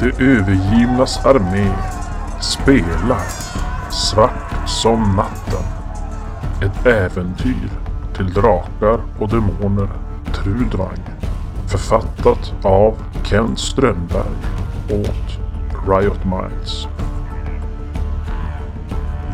Det övergivnas armé spelar svart som natten. Ett äventyr till drakar och demoner Trudvang. Författat av Kent Strömberg åt Riot Minds.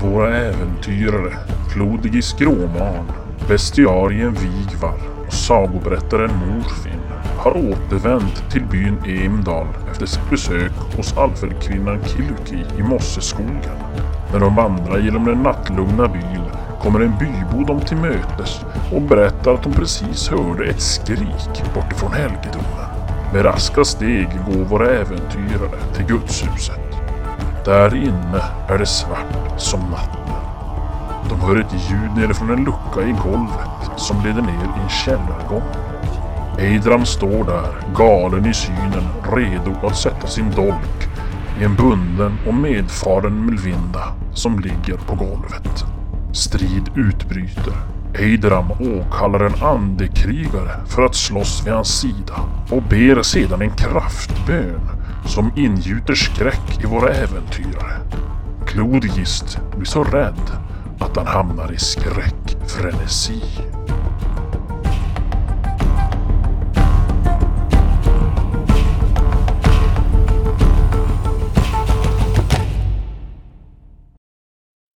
Våra äventyrare Flodigis Gråman, bestiarien Vigvar och sagoberättaren Morfin har återvänt till byn Emdal efter sitt besök hos alfelkvinnan Kilki i Mosseskogen. När de vandrar genom den nattlugna byn kommer en bybo dem till mötes och berättar att de precis hörde ett skrik bortifrån helgedomen. Med raska steg går våra äventyrare till gudshuset. Där inne är det svart som natten. De hör ett ljud nere från en lucka i golvet som leder ner i en källargång. Eidram står där, galen i synen, redo att sätta sin dolk i en bunden och medfaren Mulvinda som ligger på golvet. Strid utbryter. Eidram åkallar en andekrigare för att slåss vid hans sida och ber sedan en kraftbön som ingjuter skräck i våra äventyrare. Klodgist blir så rädd att han hamnar i skräckfrenesi.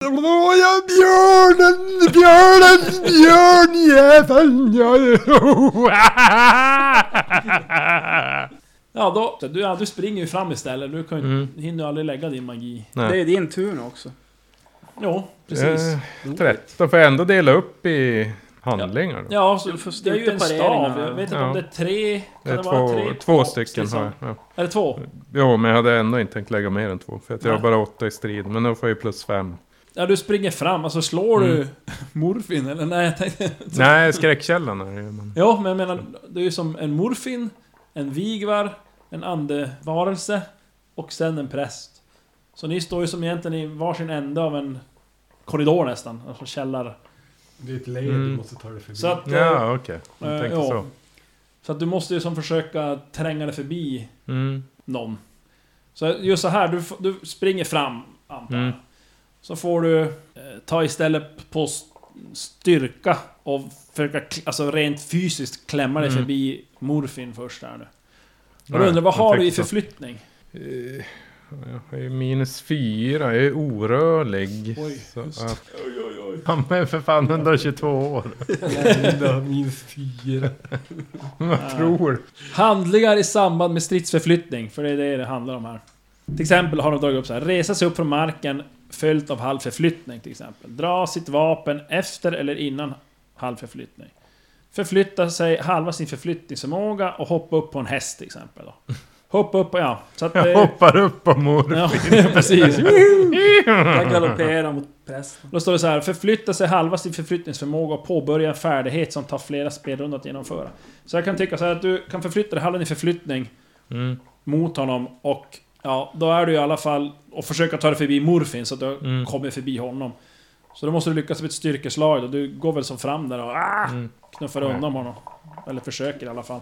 Åh, jag björnen, björnen, björnjäveln, jag... Ja, då, så du, ja, du springer ju fram istället. Du kan, ju- Mm. hinner ju aldrig lägga din magi. Det är din tur nu också. Jo, precis. Eh, 13, får jag ändå dela upp i handlingar då? Ja, så, får det är ju en styrkepareringar. stav. Jag vet inte Ja. om det är tre... Kan Det det, är vara två, tre? två stycken liksom? har jag. Ja. Är det två? Jo, men jag hade ändå inte tänkt lägga mer än två. För att jag har Nej. bara åtta i strid, men då får jag ju plus fem. Ja, du springer fram. Alltså slår du Mm. morfin eller? Nej, jag tänkte... Nej, skräckkällan är det ju. men- Ja, men jag menar, det är ju som en morfin, en vigvar, en andevarelse och sen en präst. Så ni står ju som egentligen i varsin ände av en korridor nästan, alltså källar... Det är ett led Mm. du måste ta dig förbi. Så att... eh, Ja, okej. eh, Jag tänkte ja. så. Så att du måste ju som försöka tränga dig förbi Mm. någon. Så just så här, du, f- du springer fram, antar jag. Mm. Så får du eh, ta istället på s- styrka och försöka, kl- alltså rent fysiskt klämma dig Mm. förbi morfin först där nu. Och då Nej, undrar, vad jag har du i tänkte så. förflyttning? Eh, Jag har ju minus fyra, jag är orörlig. Oj, så att... Ja, men för fan 122 år. Linda, minst fyra. Vad tror du? Handlingar i samband med stridsförflyttning, för det är det det handlar om här. Till exempel har de dragit upp så här, resa sig upp från marken följt av halv förflyttning till exempel. Dra sitt vapen efter eller innan halv förflyttning. Förflytta sig halva sin förflyttningsförmåga och hoppa upp på en häst till exempel. Då. Hoppa upp på, ja. Så att Jag det, hoppar upp på mor. ja, precis. Jag galopperar mot prästen. Då står det så här, förflytta sig halva sin förflyttningsförmåga och påbörja en färdighet som tar flera spelrundor att genomföra. Så jag kan tycka så här att du kan förflytta dig halva din förflyttning Mm, mot honom och ja, då är du i alla fall och försöka ta dig förbi Morfin så att du Mm. kommer förbi honom. Så då måste du lyckas med ett styrkeslag och du går väl som fram där och ah, mm. knuffar Nej. undan honom. Eller försöker i alla fall.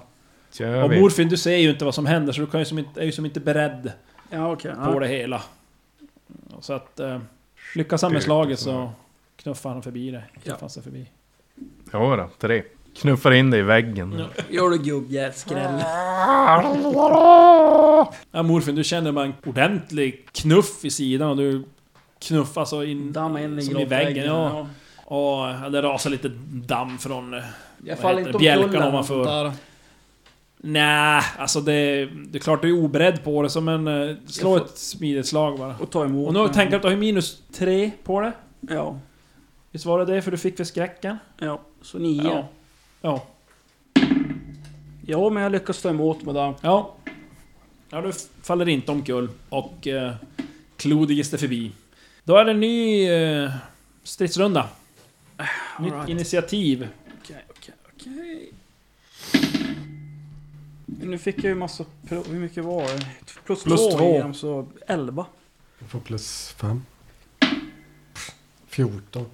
Kör och vi. Morfin, du ser ju inte vad som händer så du kan ju som inte, är ju som inte beredd Ja, okej. på Ja. det hela. Så att... Eh, lyckas han med slaget så knuffar han förbi dig. Knuffar han sig förbi. Ja, då, tre. Knuffar in dig i väggen. Ja. Gör du gubbjävelskräll. Ja, Morfin, du känner bara en ordentlig knuff i sidan och du knuffas så in... Damma in i Som i grottväggen, väggen, ja. Och ja, det rasar lite damm från... eh, Jag Vad faller heter det? inte Bjälkan omkull eller ovanför. något sånt där. Nej, alltså det... Det är klart du är oberedd på det, så men... eh, Slå Jag får- ett smidigt slag bara. Och ta emot Och nu den. tänker jag att du har minus tre på det. Ja. Visst var det det? För du fick för skräcken? Ja. Så nio. Ja. Ja. Ja. men jag lyckas ta emot med det. Ja. Ja, du faller inte omkull. Och... Eh, Klodigis är förbi. Då är det en ny eh, stridsrunda. Nytt alright. initiativ. Okej, okej, okej. Men Nu fick jag ju massa... pro- Hur mycket var det? Plus, Plus två, två. i dem, så elva. Jag får plus fem. Fjorton.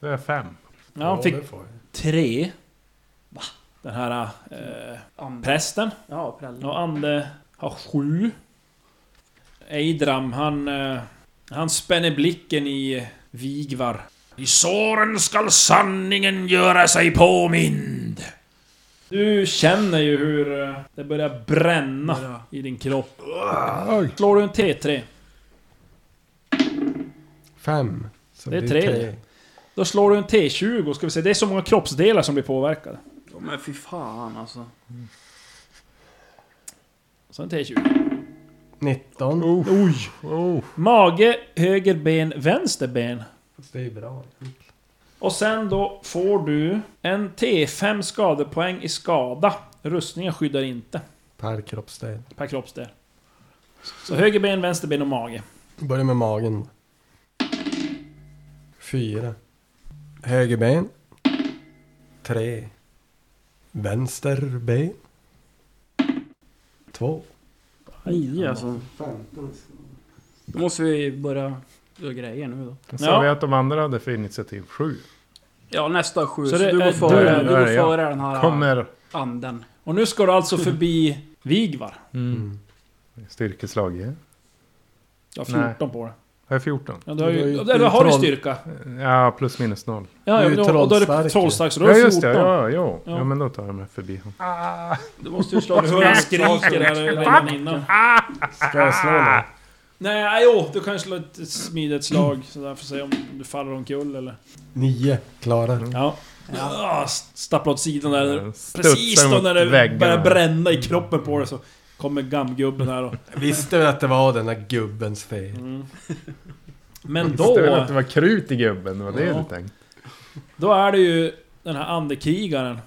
Det är fem. Ja, han fick det får jag. tre. Va? Den här eh, Ande. prästen. Ja, prällen. Och Ande har sju. Eidram, han... eh, Han spänner blicken i Vigvar. I såren skall sanningen göra sig påmind. Du känner ju hur eh, det börjar bränna i din kropp. Oj, Slår du en T3? fem. Så Det är tre. Då slår du en T20, ska vi se. Det är så många kroppsdelar som blir påverkade. Ja, men fy fan alltså. Så en T20. 19. Oj! Oh. Mage, höger ben, vänster ben. Det är bra. Och sen då får du en T5 skadepoäng i skada. Rustningen skyddar inte Per kroppsdel. per kroppsdel. Så höger ben, vänster ben och mage. Börja med magen. Fyra. Höger ben. Tre. Vänster ben. Två. Nio alltså. Då måste vi börja göra grejer nu då. Sa Ja. vi att de andra hade för initiativ 7? Ja nästa sju. Så Så, det du är går före, du, du, nu är går det jag. före den här äh, Kommer anden. Och nu ska du alltså förbi Vigvar. Mm. styrkeslag igen. Du har Nej. 14 på det. Har jag 14? Ja, du har Du ju... har ju- Eller du är har du troll. styrka? Ja, plus minus noll. Ja, Du ja är ju men då, och då är du trollstark. trollstark, så du har Ja, ju just 14. det. Ja, ja. Ja. ja, men då tar jag mig förbi honom. Du måste ju slå Du hör han skriker här redan innan. Ska jag slå nu? Nej, jo, du kan slå ett ett smidigt slag sådär för att se om du faller omkull eller... Nio. Klara. Ja. Ah, st- Stappla åt sidan där. Jag studsar Precis då mot när det väggarna. börjar bränna i kroppen på dig så kommer gammgubben här och... Visste vi att det var den där gubbens fel? Mm. Men Visste väl då, att det var krut i gubben? Vad det Ja. du tänkte? då är det ju den här andekrigaren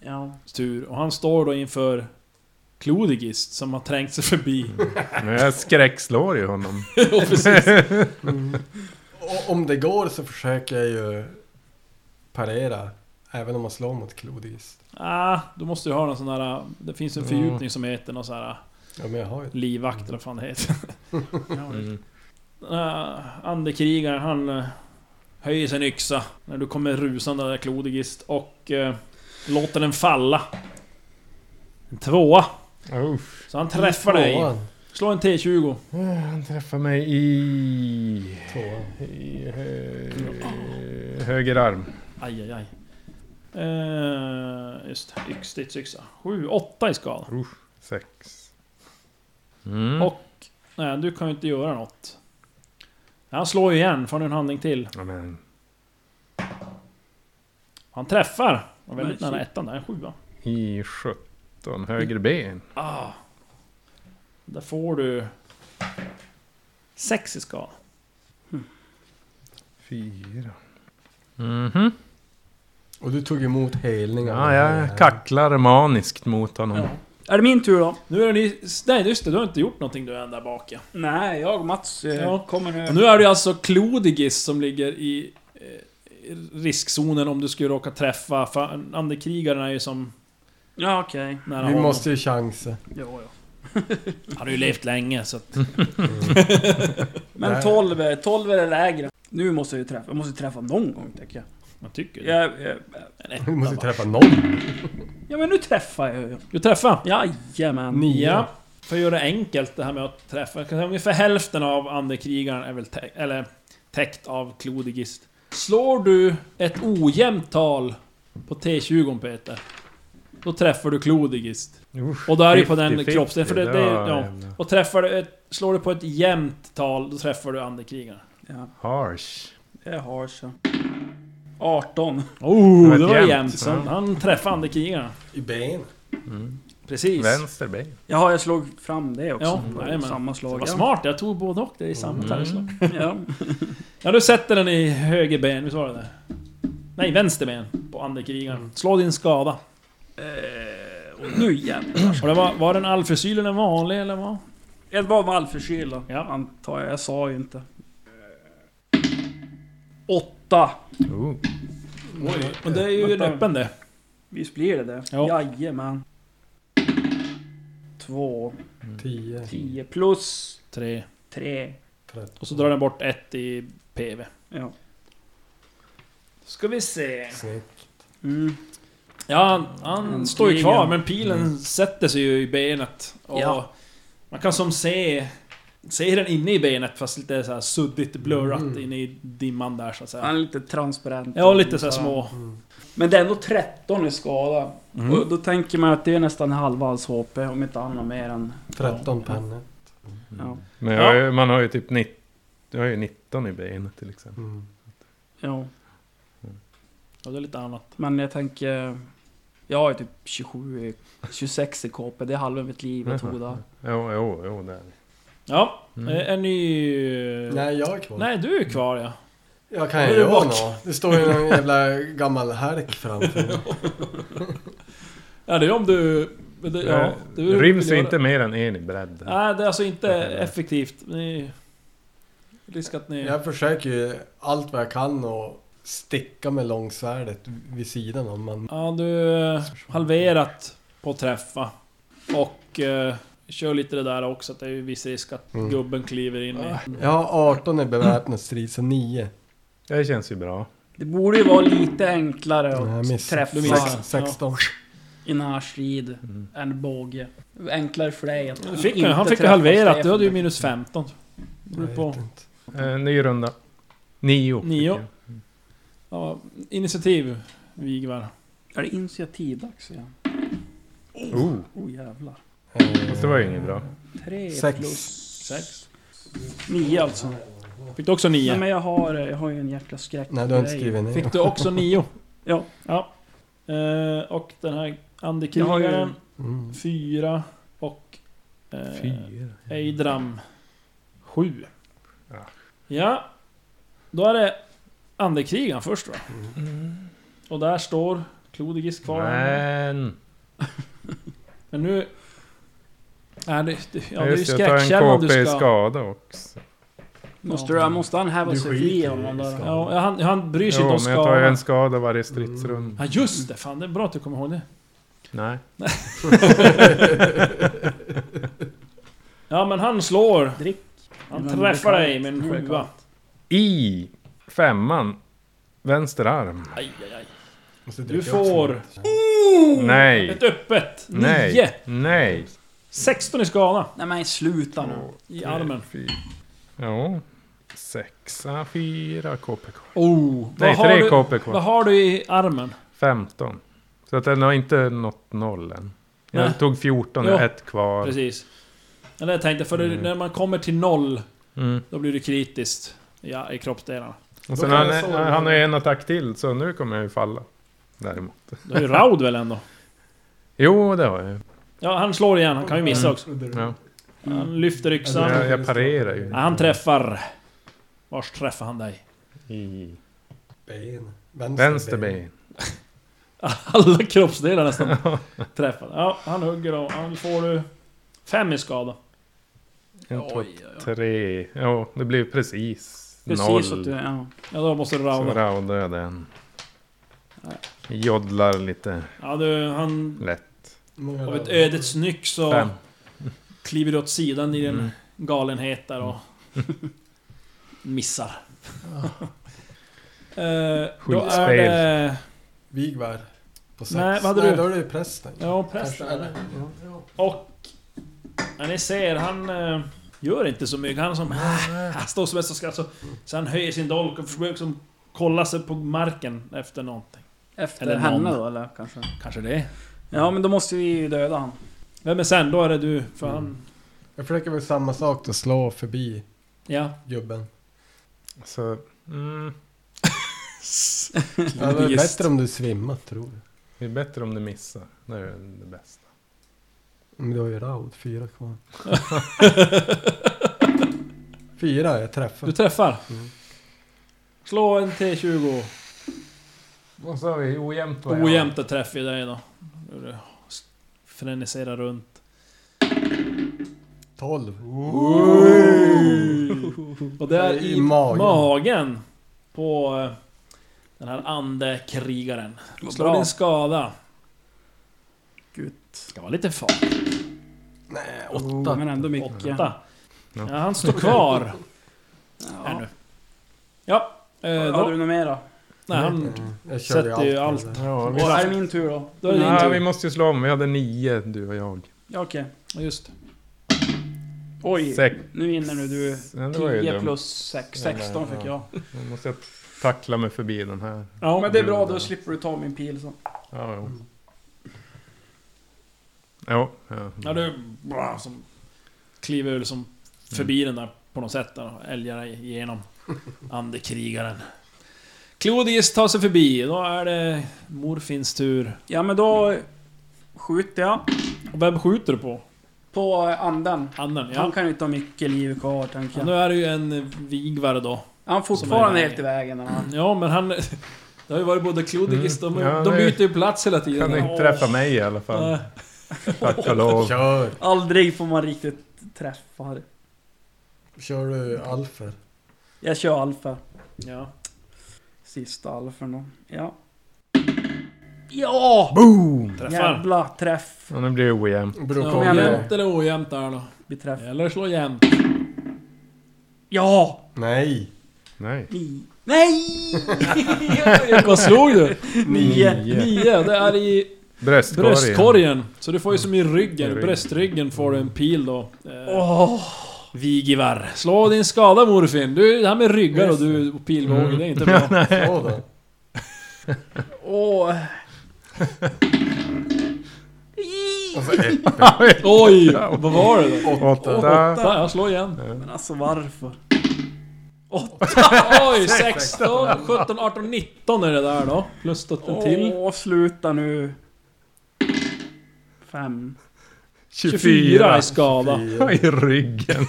Ja. tur och han står då inför Klodigist som har trängt sig förbi. Mm. Men jag skräckslår ju honom. Ja, precis. Och om det går så försöker jag ju parera. Även om man slår mot klodis. Ah, då måste du ha någon sån här... Det finns en fördjupning som heter någon sån här Ja men jag har ju... livvakt eller vad fan det heter. Mm. Den här Eh, andekrigaren han eh, höjer sin yxa när du kommer rusande där Klodigist och eh, låter den falla. En tvåa. Uff. Så han träffar dig. Tvåan. Slå en T20. Eh, Han träffar mig i... Tvåan. i hö... Höger arm. Aj, aj, aj. Eh, just det. Yx, stridsyxa. Sju, åtta i skada. Sex. Mm. Och- Nej, du kan ju inte göra något. Han slår ju igen, får han en handling till. Ja, men, Han träffar. Var väldigt Men, nära ettan där, en sjua. I 17. Höger ben. Ah. Där får du... Sex i skada. Fyra. Mhm. Och du tog emot helningar. Ja, jag kacklar maniskt mot honom. Ja. Är det min tur då? Nu är ni... Nej just det, du har inte gjort någonting du än där bak ja. Nej, jag och Mats eh, Ja. kommer nu. Och nu är det alltså Klodigis som ligger i eh, riskzonen om du skulle råka träffa... För andekrigaren är ju som Ja okej. nära Vi honom. måste ju chansa. Jo, jo. Han har ju levt länge så att... Nej. Men 12, är- 12 är det lägre. Nu måste jag ju träffa. Jag måste träffa någon gång tänker jag. Man tycker det. Jag, jag, En Vi etta måste ju bara. träffa någon. ja men nu träffar jag ju. Du träffar? Jajamän. Nio. Ja. För att göra det enkelt det här med att träffa. Jag kan säga Ungefär hälften av andekrigaren är väl tä- eller, täckt av Klodigist. Slår du ett ojämnt tal på T20 Peter. Då träffar du Klodigist. Usch, Och då är det ju 50-50, på den kroppsdelen, för det- det- var ja. jävla Och träffar du ett, slår du på ett jämnt tal, då träffar du andekrigaren. Ja, Harsh. det har så. 18. Oh, var det var jämnt. jämnt. Så Ja. han träffar andekrigaren. I ben. Precis. Vänster ben. Jaha, jag slog fram det också. Ja, jajamän. Samma slag. Vad ja. smart, jag tog både och. Det är samma tärnslag. Ja. Ja, du sätter den i höger ben, visst var det det? Nej, vänster ben på andekrigaren. Slå din skada. Eh, och nu jävlar. Och det var, var den alfresyl eller vanlig eller vad? Jag var vallförkyld Ja. ja. antar jag. Jag sa ju inte. Eh, Åtta. Oh. Oj. Men det är ju en Vänta. öppen det. Visst blir det det? Ja. Jajamän. Två. Tio. Tio plus Tre. tre. Tretton. Och så drar den bort ett i PV. Ja. Ska vi se. Snyggt. Mm. Ja, han, han Mm, står ju pilen. Mm. kvar men pilen sätter sig ju i benet. Och Ja. Man kan som se Ser den inne i benet fast lite så här suddigt blurrat Mm. inne i dimman där så att säga. Han är lite transparent. Ja, lite så här små. Mm. Men det är ändå 13 i skada. Och då tänker man att det är nästan halva hans HP om inte han har mer än... 13 pennor. Ja. Men jag, är- man har ju typ 19, jag har ju 19 i benet till exempel. Mm. ja. Ja, det är lite annat. Men jag tänker... Jag har ju typ 27, i- 26 i KP. Det är halva mitt liv jag tog Mm. det. Jo, jo, jo det är det. Ja, Mm. eh, en ny... Nej, jag är kvar. Nej, du är kvar ja. Jag kan Då ju är du göra bort. något. Det står ju någon jävla gammal härk framför mig. Ja, det är om du... Det, ja, det det ryms ju göra. inte mer än en i bredden. Nej, det är alltså inte Nej. effektivt. Ni... Risk att ni... Jag försöker ju allt vad jag kan och sticka med långsvärdet vid sidan om man... Ja, du... eh, Halverat på träffa. Och... Eh, kör lite det där också, att det är ju viss risk att Mm. gubben kliver in i... Mm. Jag har 18 i beväpnad strid, så 9. Det känns ju bra. Det borde ju vara lite enklare Nej, jag att missar. träffa Du missar. Sex- 16. i närstrid Mm. än båge. Enklare för dig att Du fick, ju- inte han fick ju träffa halverat, du Stefan. hade ju minus 15. Jag Du vet på... inte. Eh, ny runda. Nio. fick Nio. jag. Ja, initiativ, Vigvar. Är det initiativdags igen? Oh, Oh jävlar. fast det var ju Eh, inget bra. Tre Sex. plus... Sex. Nio alltså. Fick du också nio? Nej men jag har, eh, jag har ju en jäkla skräck. Nej, du har inte för dig. skrivit ner. Fick du också nio? Ja. Ja. Eh, och den här Jag har ju- andekrigaren, Mm. fyra. Och... Eh, Fyra. Eidram, sju. Ja. Ja. Då är det andekrigaren först då. Och där står Klodigis kvar. Men... Men nu... Nej, det, det, ja, det är ju just det, jag tar en skräckkällan du KP i ska... skada också. Måste, du, måste han häva Du sig skiter fri i honom där? skada. Ja, han, han bryr sig Jo, inte om men jag tar ju skadan. en skada varje stridsrunda. Ja just det, fan det är bra att du kommer ihåg det. Nej. Ja men han slår. Drick. Han Men träffar det är dig med en kallt. Det sjua. är I femman. Vänster arm. Aj, aj, aj. Måste Du dricka får- också. Nej. Ett öppet. Oh! Nio. Nej. Nej. 16 i skada. Nej men sluta nu. I armen. Fy. Jo. Sexa, fyra KP kvar. Oh. Nej, vad har tre du- KP Vad kvar. har du i armen? 15. Så att den har inte nått nollen. Jag Nej. tog 14, Ja. ja. ett kvar. Precis. Ja, det jag tänkte, för det, Mm. när man kommer till noll, Mm. då blir det kritiskt ja, i kroppsdelarna. Och sen kan han, jag såga. han har ju en attack till, så nu kommer jag ju falla. Däremot. Du har ju Raud väl ändå? Jo, det har jag ju. Ja, han slår igen. Han kan ju missa Mm. också. Ja. Han lyfter yxan. Jag, jag parerar ju. Ja, han träffar. Vars träffar han dig? I Ben. vänster ben. Alla kroppsdelar nästan träffade. Ja, han hugger och han får du... Fem i skada. En, två, Oj, oj, oj. tre. Jo, det blir precis, Precis noll. att du... Ja. Ja, då måste du Så rauna. raudar jag den. Joddlar lite Ja, du, han... lätt. Av ett ödets nyck så Fem. kliver du åt sidan i din Mm. galenhet där och... missar. Eh, då är Skitspel. det... Vigvar. På sex. Nej, vad hade du? då är det ju prästen. Ja, Kanske, prästen är det. eller? Ja. Och... Ja, ni ser, han... eh, Gör inte så mycket. Han som... Ah, Han står som mest och skrattar. Så, alltså, så han höjer sin dolk och försöker som kolla sig på marken efter någonting. Efter Eller någon. henne då eller kanske? Kanske det. Ja men då måste vi ju döda Mm. han. Vem är sen? Då är det du. För han... Jag försöker väl samma sak då, slå förbi Ja. gubben. Så, mm, Det var Just. bättre om du svimmat tror jag. det är bättre om du missar. Det är det bästa. Men du har ju Raud, fyra kvar. fyra, jag Du träffar. träffar. Mm. Slå en T20. Och så har vi ojämnt vad jag har. Ojämnt att träff i dig då. Hur du s- Freneserar runt. Tolv. Och det är I i magen. magen på eh, den här andekrigaren. Vad Slå bra. din skada. Gud. Ska vara lite fart. Nej, Åtta. åtta. Oh, Men ändå mycket. Åtta. Ja, Ja. han står kvar här Ja. nu. Ja, eh, då, Har du något mer då? nej, han, Mm. Jag körde sätter ju allt. det där. Ja, Och vi, är det min tur då? då är det din ja, vi tur. måste ju slå om. Vi hade nio, du och jag. Ja, Okej. Ja, Just det. Oj, Sex. nu vinner nu du. Ja, det var ju 10 dumt. plus 6, 16 fick jag. Nu måste jag tackla mig förbi den här. Ja, men det är bra, då slipper du ta min pil sen. Ja, jo. Mm. Jo, ja. Ja, du bra, som kliver ur som förbi Mm. den där på något sätt. där, Älgarna igenom andekrigaren. Clodius tar sig förbi, då är det morfins tur. Ja, men då skjuter jag Och vem skjuter du på? på anden. Anden, Han ja. kan ju inte ha mycket liv kvar, tänker ja. jag. Nu är det ju en vigvare då. Han är Som fortfarande är- helt i vägen. när Han. Ja, men han... Det har ju varit både Clodius, Mm. de, Ja, de det- byter ju plats hela tiden. Kan inte träffa mig i alla fall. Nej. Tack och lov. Kör! Aldrig får man riktigt träffa. Kör du Alfer? Jag kör alfa. Ja. Sista alfen då. Ja. Ja! Boom! Träffar. Jävla träff. Ja, nu blir det ojämnt. Beror på Ja, men- Jämnt eller ojämnt där då? Vi träff. Eller slå jämnt. Ja! Nej! Nej. Ni. Nej! Vad slog du? Nio. Nio, det är i Bröstkorgen. bröstkorgen. Så du får ju som i ryggen, i Ryggen. bröstryggen får du en pil då. Eh, Åh! Vigivar. Slå din skada Morfin. Du, det här med ryggar och du och pilbåge, det är inte bra. Slå då. Åh! Och så ett, Oj! Vad var det då? Åtta. Åtta, jag slår igen. Men alltså varför? Oj! 16, 17, 18, 19 är det där då. Plus då en till. Åh, sluta nu. Fem. 24 24. i skada. I ryggen.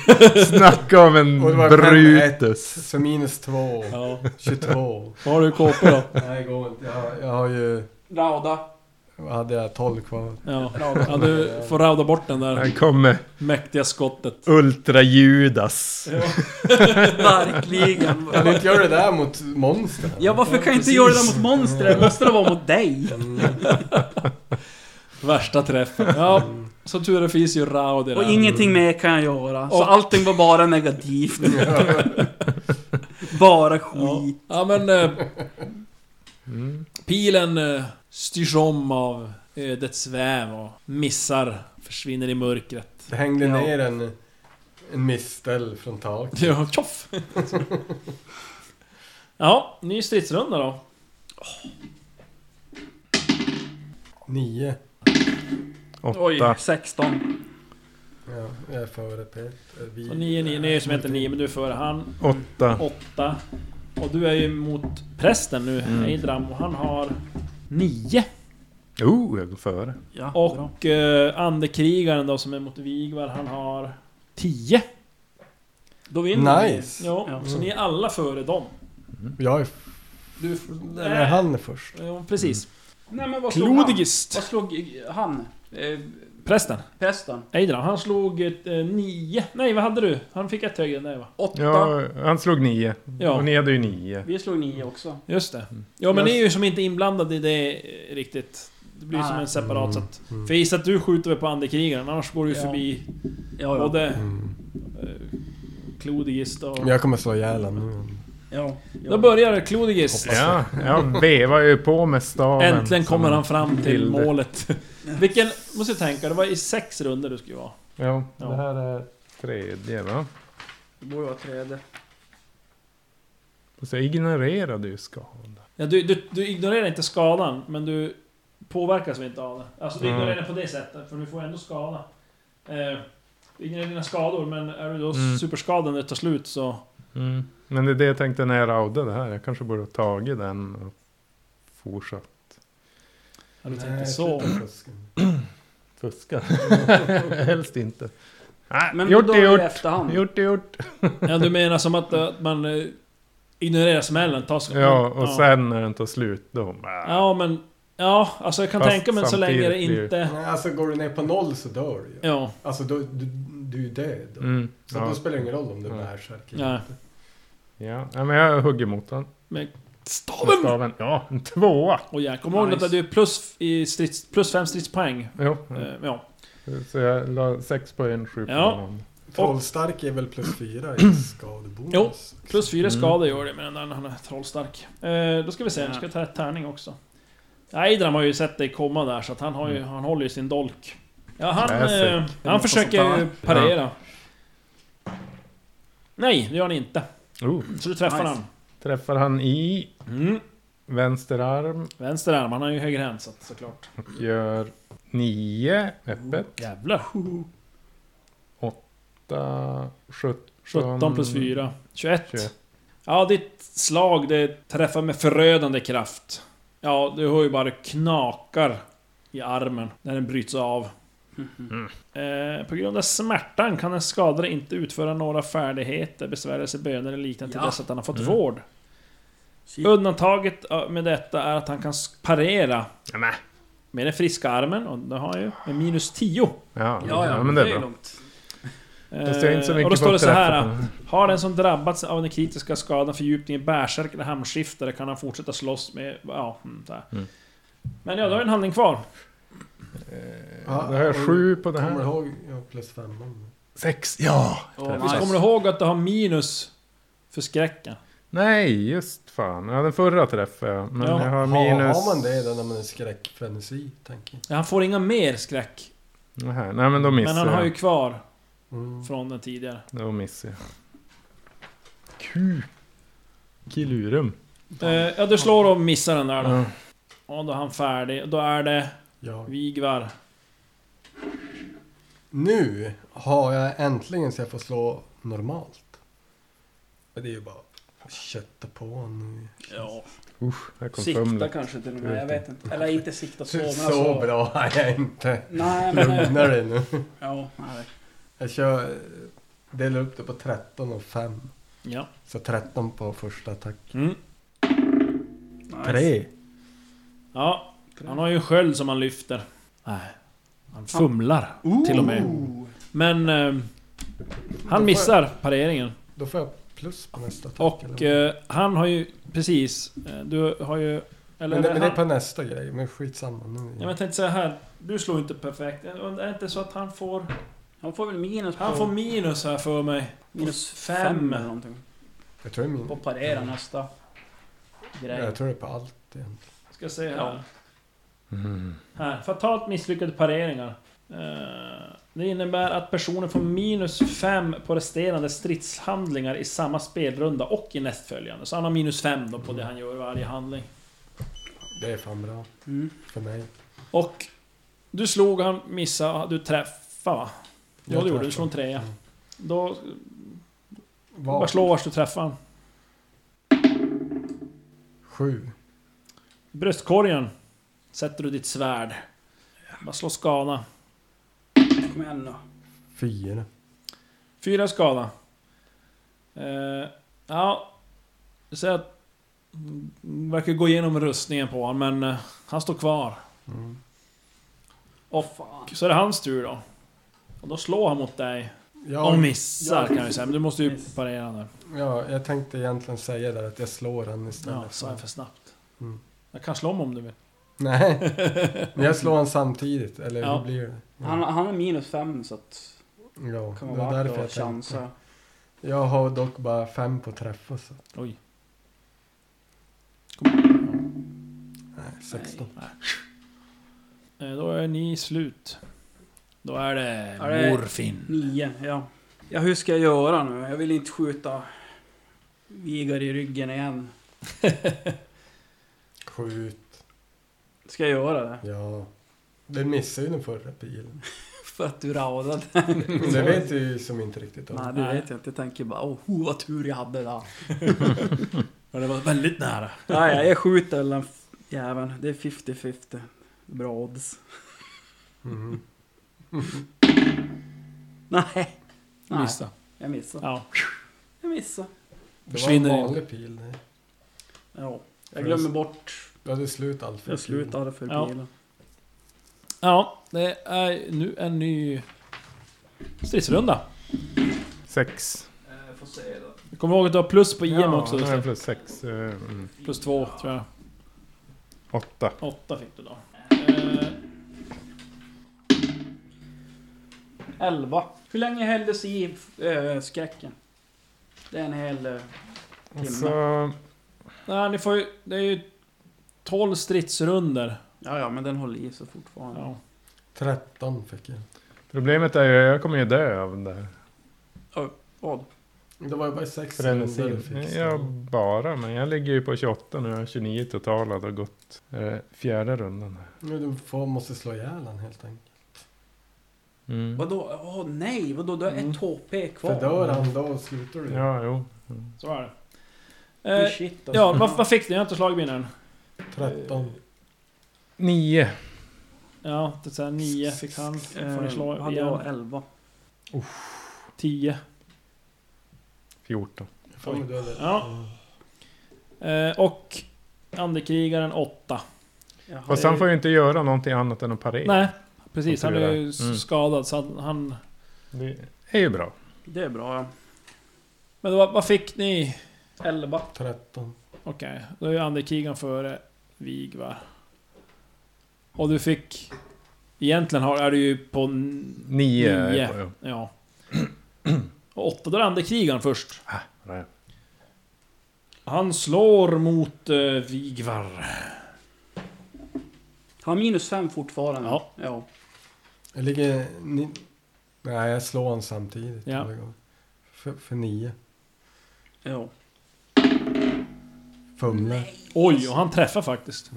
Snacka om en Och det var Brutus. Så minus två. Ja. 22. Vad har du i KP då? Nej, det går inte. Jag har, jag har ju... Rauda. Vad hade jag? 12 kvar. Ja. ja, du får rauda bort den där Här kommer mäktiga skottet. Ultra-Judas. Verkligen. Kan du inte göra det där mot monster? Ja, varför kan jag inte göra det mot monstret? Måste det vara mot dig? Mm. Värsta träffen. Ja, som tur är finns ju Rao där. Mm. Och ingenting mer kan jag göra. Så Och- allting var bara negativt. bara Ja, skit. ja men... Eh, Mm. pilen eh, styrs om av ödets väv och missar, försvinner i mörkret. Det hängde Ja. ner en, en mistel från taket. Ja, tjoff! ja, ny stridsrunda då. Nio. Åtta. 16. Ja, jag är före Peter. Vi- Så 9, 9, 9 som heter 9, men du är före han. Åtta. 8. Och du är ju mot prästen nu, Eidram, och han har 9. Oh, jag går före. Ja, bra. Och eh, andekrigaren då som är mot Vigvar, han har 10. Då vinner vi. Nice! Ja, Ja. så ni är alla före dem. Jag är... f- Du, Nej, han är först. Ja, precis. Nej men vad slog han? Klodigist. Vad slog han? Eh, Prästen. prästen? Eidram, han slog ett, eh, nio. Nej, vad hade du? Han fick ett högre än dig va? Åtta. Ja, han slog nio. Mm. Och Ja, ni hade ju nio. Vi slog nio också. just det. Ja, men ni är ju som inte inblandade i det eh, riktigt. Det blir ju som Nej. en separat så att... Mm. För jag gissar att du skjuter väl på andekrigaren, annars går du ju Ja. förbi Ja, ja. både Mm. eh, Klodigist och... Men Jag kommer slå ihjäl honom nu. ja, Då ja. börjar Klodigist. Ja, jag vevar ju på med staven. Äntligen kommer han fram till Bilder. målet. Vilken, måste jag tänka, det var i sex runder du skulle vara. Ja, Ja. det här är tredje va? Det borde vara tredje. Och så ignorerade ju skada. Ja, du, du, du ignorerar inte skadan, men du påverkas väl inte av det. Alltså du Mm. ignorerar på det sättet, för du får ändå skada. Eh, du ignorerar dina skador, men är du då Mm. superskadad när det tar slut så... Men det är det jag tänkte när jag raudade här. Jag kanske borde ha tagit den och fortsatt Ja, du tänkte så. fuska. Helst inte. Nej, Men gjort då är är det i gjort. efterhand. Gjort är gjort. Ja, du menar som att, eh, att man eh, ignorerar smällen, tar skadan? Ja, och sen när den tar slut då... Ja. Ja, men... Ja, alltså jag kan Fast tänka mig så länge det samtidigt blir- inte... Nej, alltså går du ner på noll så dör du ju. Ja, Alltså då, du, du är död. då. Mm, Så ja. då spelar det ingen roll om du är Ja. bärsärk Nej. eller inte. Ja. ja, men jag hugger mot den. men... Med Staven! staven. Ja, en tvåa. Och jag kommer ihåg Nice. att du är plus, i strids, plus fem stridspoäng. Jo, Eh, ja. så jag la sex på en, sju på Ja. en annan. Trollstark är väl plus fyra i skadebonus? Mm. Jo, Plus fyra Mm. skador gör det, men den- han är trollstark. Eh, då ska vi se, nu ska jag ta ett tärning också. Eidram har ju sett dig komma där, så att han, har ju, han håller ju sin dolk. Ja, han, Classic. eh, han försöker ju parera. Nej, det gör han inte. Oh, Så du träffar Nice. han. träffar han i Mm. vänster arm Vänster arm, han har ju högerhänt så, såklart. och gör 9 öppet. Jävlar. 8, 17. 17 plus 4. 21. 21. Ja, ditt slag det träffar med förödande kraft. Ja, du hör ju bara knakar i armen när den bryts av. Eh, på grund av smärtan kan den skadade inte utföra några färdigheter, besvärelser, böner eller liknande till Ja. dess att han har fått Mm. vård. Shit. Undantaget eh, med detta är att han kan sk- parera med den friska armen, och det har han ju, med minus 10. Ja, Ja, ja, men det är bra. lugnt. Fast jag är inte så Eh, mycket och då står på det så här. träffen. Har den som drabbats av den kritiska skadan fördjupning i bärsärk eller hamnskiftare kan han fortsätta slåss med... Ja, mm, där. Mm. Men ja, då är en handling kvar. Ja, Då har jag 7 på det Kommer här. ihåg, ja, plus femman. 6, ja! Oh, Visst kommer du nice. ihåg att du har minus för skräcken? Nej, just fan. Ja, den förra träffade jag. Men Ja. jag har Har- minus... Har man det då när man är skräckfrenesi, tänker jag. Ja, Han får inga mer skräck. Det här. Nej, men då missar Men han har jag. ju kvar Mm. från den tidigare. Då missar jag. Q. Kilurum. Eh, ja, du slår och missar den där då. Ja. Ja, då är han färdig. Då är det Jag. Vigvar. Nu har jag äntligen så jag får slå normalt. Men det är ju bara att kötta på nu. Ja, Usch, där kom sikta fumlet. kanske till och med. Jag vet inte. Eller inte sikta så, Så, men alltså... bra har jag inte. Nej, men... eh, Lugna dig nu. Ja, nej. Jag kör... eh, Delar upp det på 13 och 5. Ja. Så 13 på första attack. Mm. Nice. 3. Ja, han har ju en sköld som han lyfter. Nej. Han fumlar till och med. Oh. Men... ehm, han missar pareringen. Då får jag plus på nästa attack. Och eller? eh, han har ju... Precis. eh, Du har ju... Eller, men, det, men det är han, på nästa grej. Men skitsamma nu. ja, men jag tänkte säga här. Du slår inte perfekt. Är det inte så att han får... Han får väl minus på... Han får minus här för mig. minus fem. fem eller någonting. Jag tror det är På min... parera nästa grej. Jag tror det är på allt egentligen. Ska se här. Ja. Mm. Här. Fatalt misslyckade pareringar. Eh, Det innebär att personen får minus 5 på resterande stridshandlingar i samma spelrunda och i nästföljande. Så han har minus 5 då på det han gör i varje handling. Det är fan bra. Mm. För mig. Och... Du slog han, missade, du träffade va? Ja, Jag det gjorde du. träffar. Du slog en trea. Mm. Då Bara Vad? slå vars du träffar han. Sju. I bröstkorgen sätter du ditt svärd. Bara slå skada. Kom igen nu. Fyra. Fyra skada. Eh, ja... Så att... mm, Verkar gå igenom rustningen på honom, men eh, han står kvar. Mm. Och Fan. så är det hans tur då. Och då slår han mot dig. Ja, Och missar ja. kan jag ju säga, men du måste ju Miss. parera nu. ja, jag tänkte egentligen säga där att jag slår han Ja, istället. sa för... jag för snabbt. Mm. Jag kan slå om om du vill. Nej, men jag slår han samtidigt. Eller Ja. hur blir det? Ja. Han, han har minus fem så att... ja. Kan det vara var värt därför att jag tänkte. chansa. Jag har dock bara fem på träffar så. Oj. Nej, 16. Eh, Då är ni slut. Då är det Ja, det- morfin. Nio, ja. Ja, hur ska jag göra nu? Jag vill inte skjuta Vigar i ryggen igen. Skjut. Ska jag göra det? Ja. Den missade ju den förra pilen. För att du raudade. Men det vet du ju som inte riktigt om. Nej, det vet jag inte. Jag tänker bara åh, oh, vad tur jag hade där. Ja, det var väldigt nära. Nej, jag skjuter väl den f- jäveln. Det är 50-50. Bra odds. Mhm. Nej. Nej, Missa. jag missade. Ja. Jag missade. Det var en Försvinner in. vanlig pil. nej. Ja, jag glömmer bort. Du hade slut allt för Jag pilen. slutade för Ja. bilen. ja, det är nu en ny stridsrunda. 6. Får se då. Kom ihåg att du har plus på IM också. Ja, Just nu har jag det. plus eh, mm. 6. Plus två, tror jag. 8. Åtta fick du då. Eh, 11. Hur länge hälldes i äh, skräcken? Det är en hel... eh, Så... nej, ni får ju... Det är ju 12 stridsrunder. ja, ja, men den håller i sig fortfarande. Ja. 13 fick jag. Problemet är ju, jag kommer ju dö av det här. Vad? Det var ju bara sex Frenesin. runder du fick, så- Jag bara, men jag ligger ju på 28 nu. Jag har 29 totala. Det har gått eh, fjärde rundan. här. Nu du får, måste slå ihjäl han helt enkelt. Mm. Vadå? Åh nej, vadå? Du har Mm. ett HP kvar. För dör han då slutar du ju. Ja, jo. Så är det. Fy Eh, Shit, alltså. ja, vad, vad fick ni? Jag har inte slagit vinnaren. 13. Nio. Ja, det är så här, nio fick han. Får ni Eh, slå hade jag igen. 11. Tio. 14. Fan, men du hade- Ja. Eh, och andekrigaren åtta. Jaha. Fast han får ju inte göra någonting annat än att parera. Nej, precis. Han Kontrollera. är ju s- Mm. skadad så han... han Det är ju bra. Det är bra ja. men vad, vad fick ni? 11. 13. Okej, då är ju andekrigaren före Vigvar. Och du fick... Egentligen har, är du ju på... n- Nio. är Nio. på- ja. Ja. Och åtta, då är andekrigaren först. Nej. Han slår mot eh, Vigvar. Han har minus 5 fortfarande. Ja. ja. Jag ligger... Ni... Nej, jag slår han samtidigt. Ja. alla gånger. För, för nio. ja. Fumlar. Oj, och han träffar faktiskt.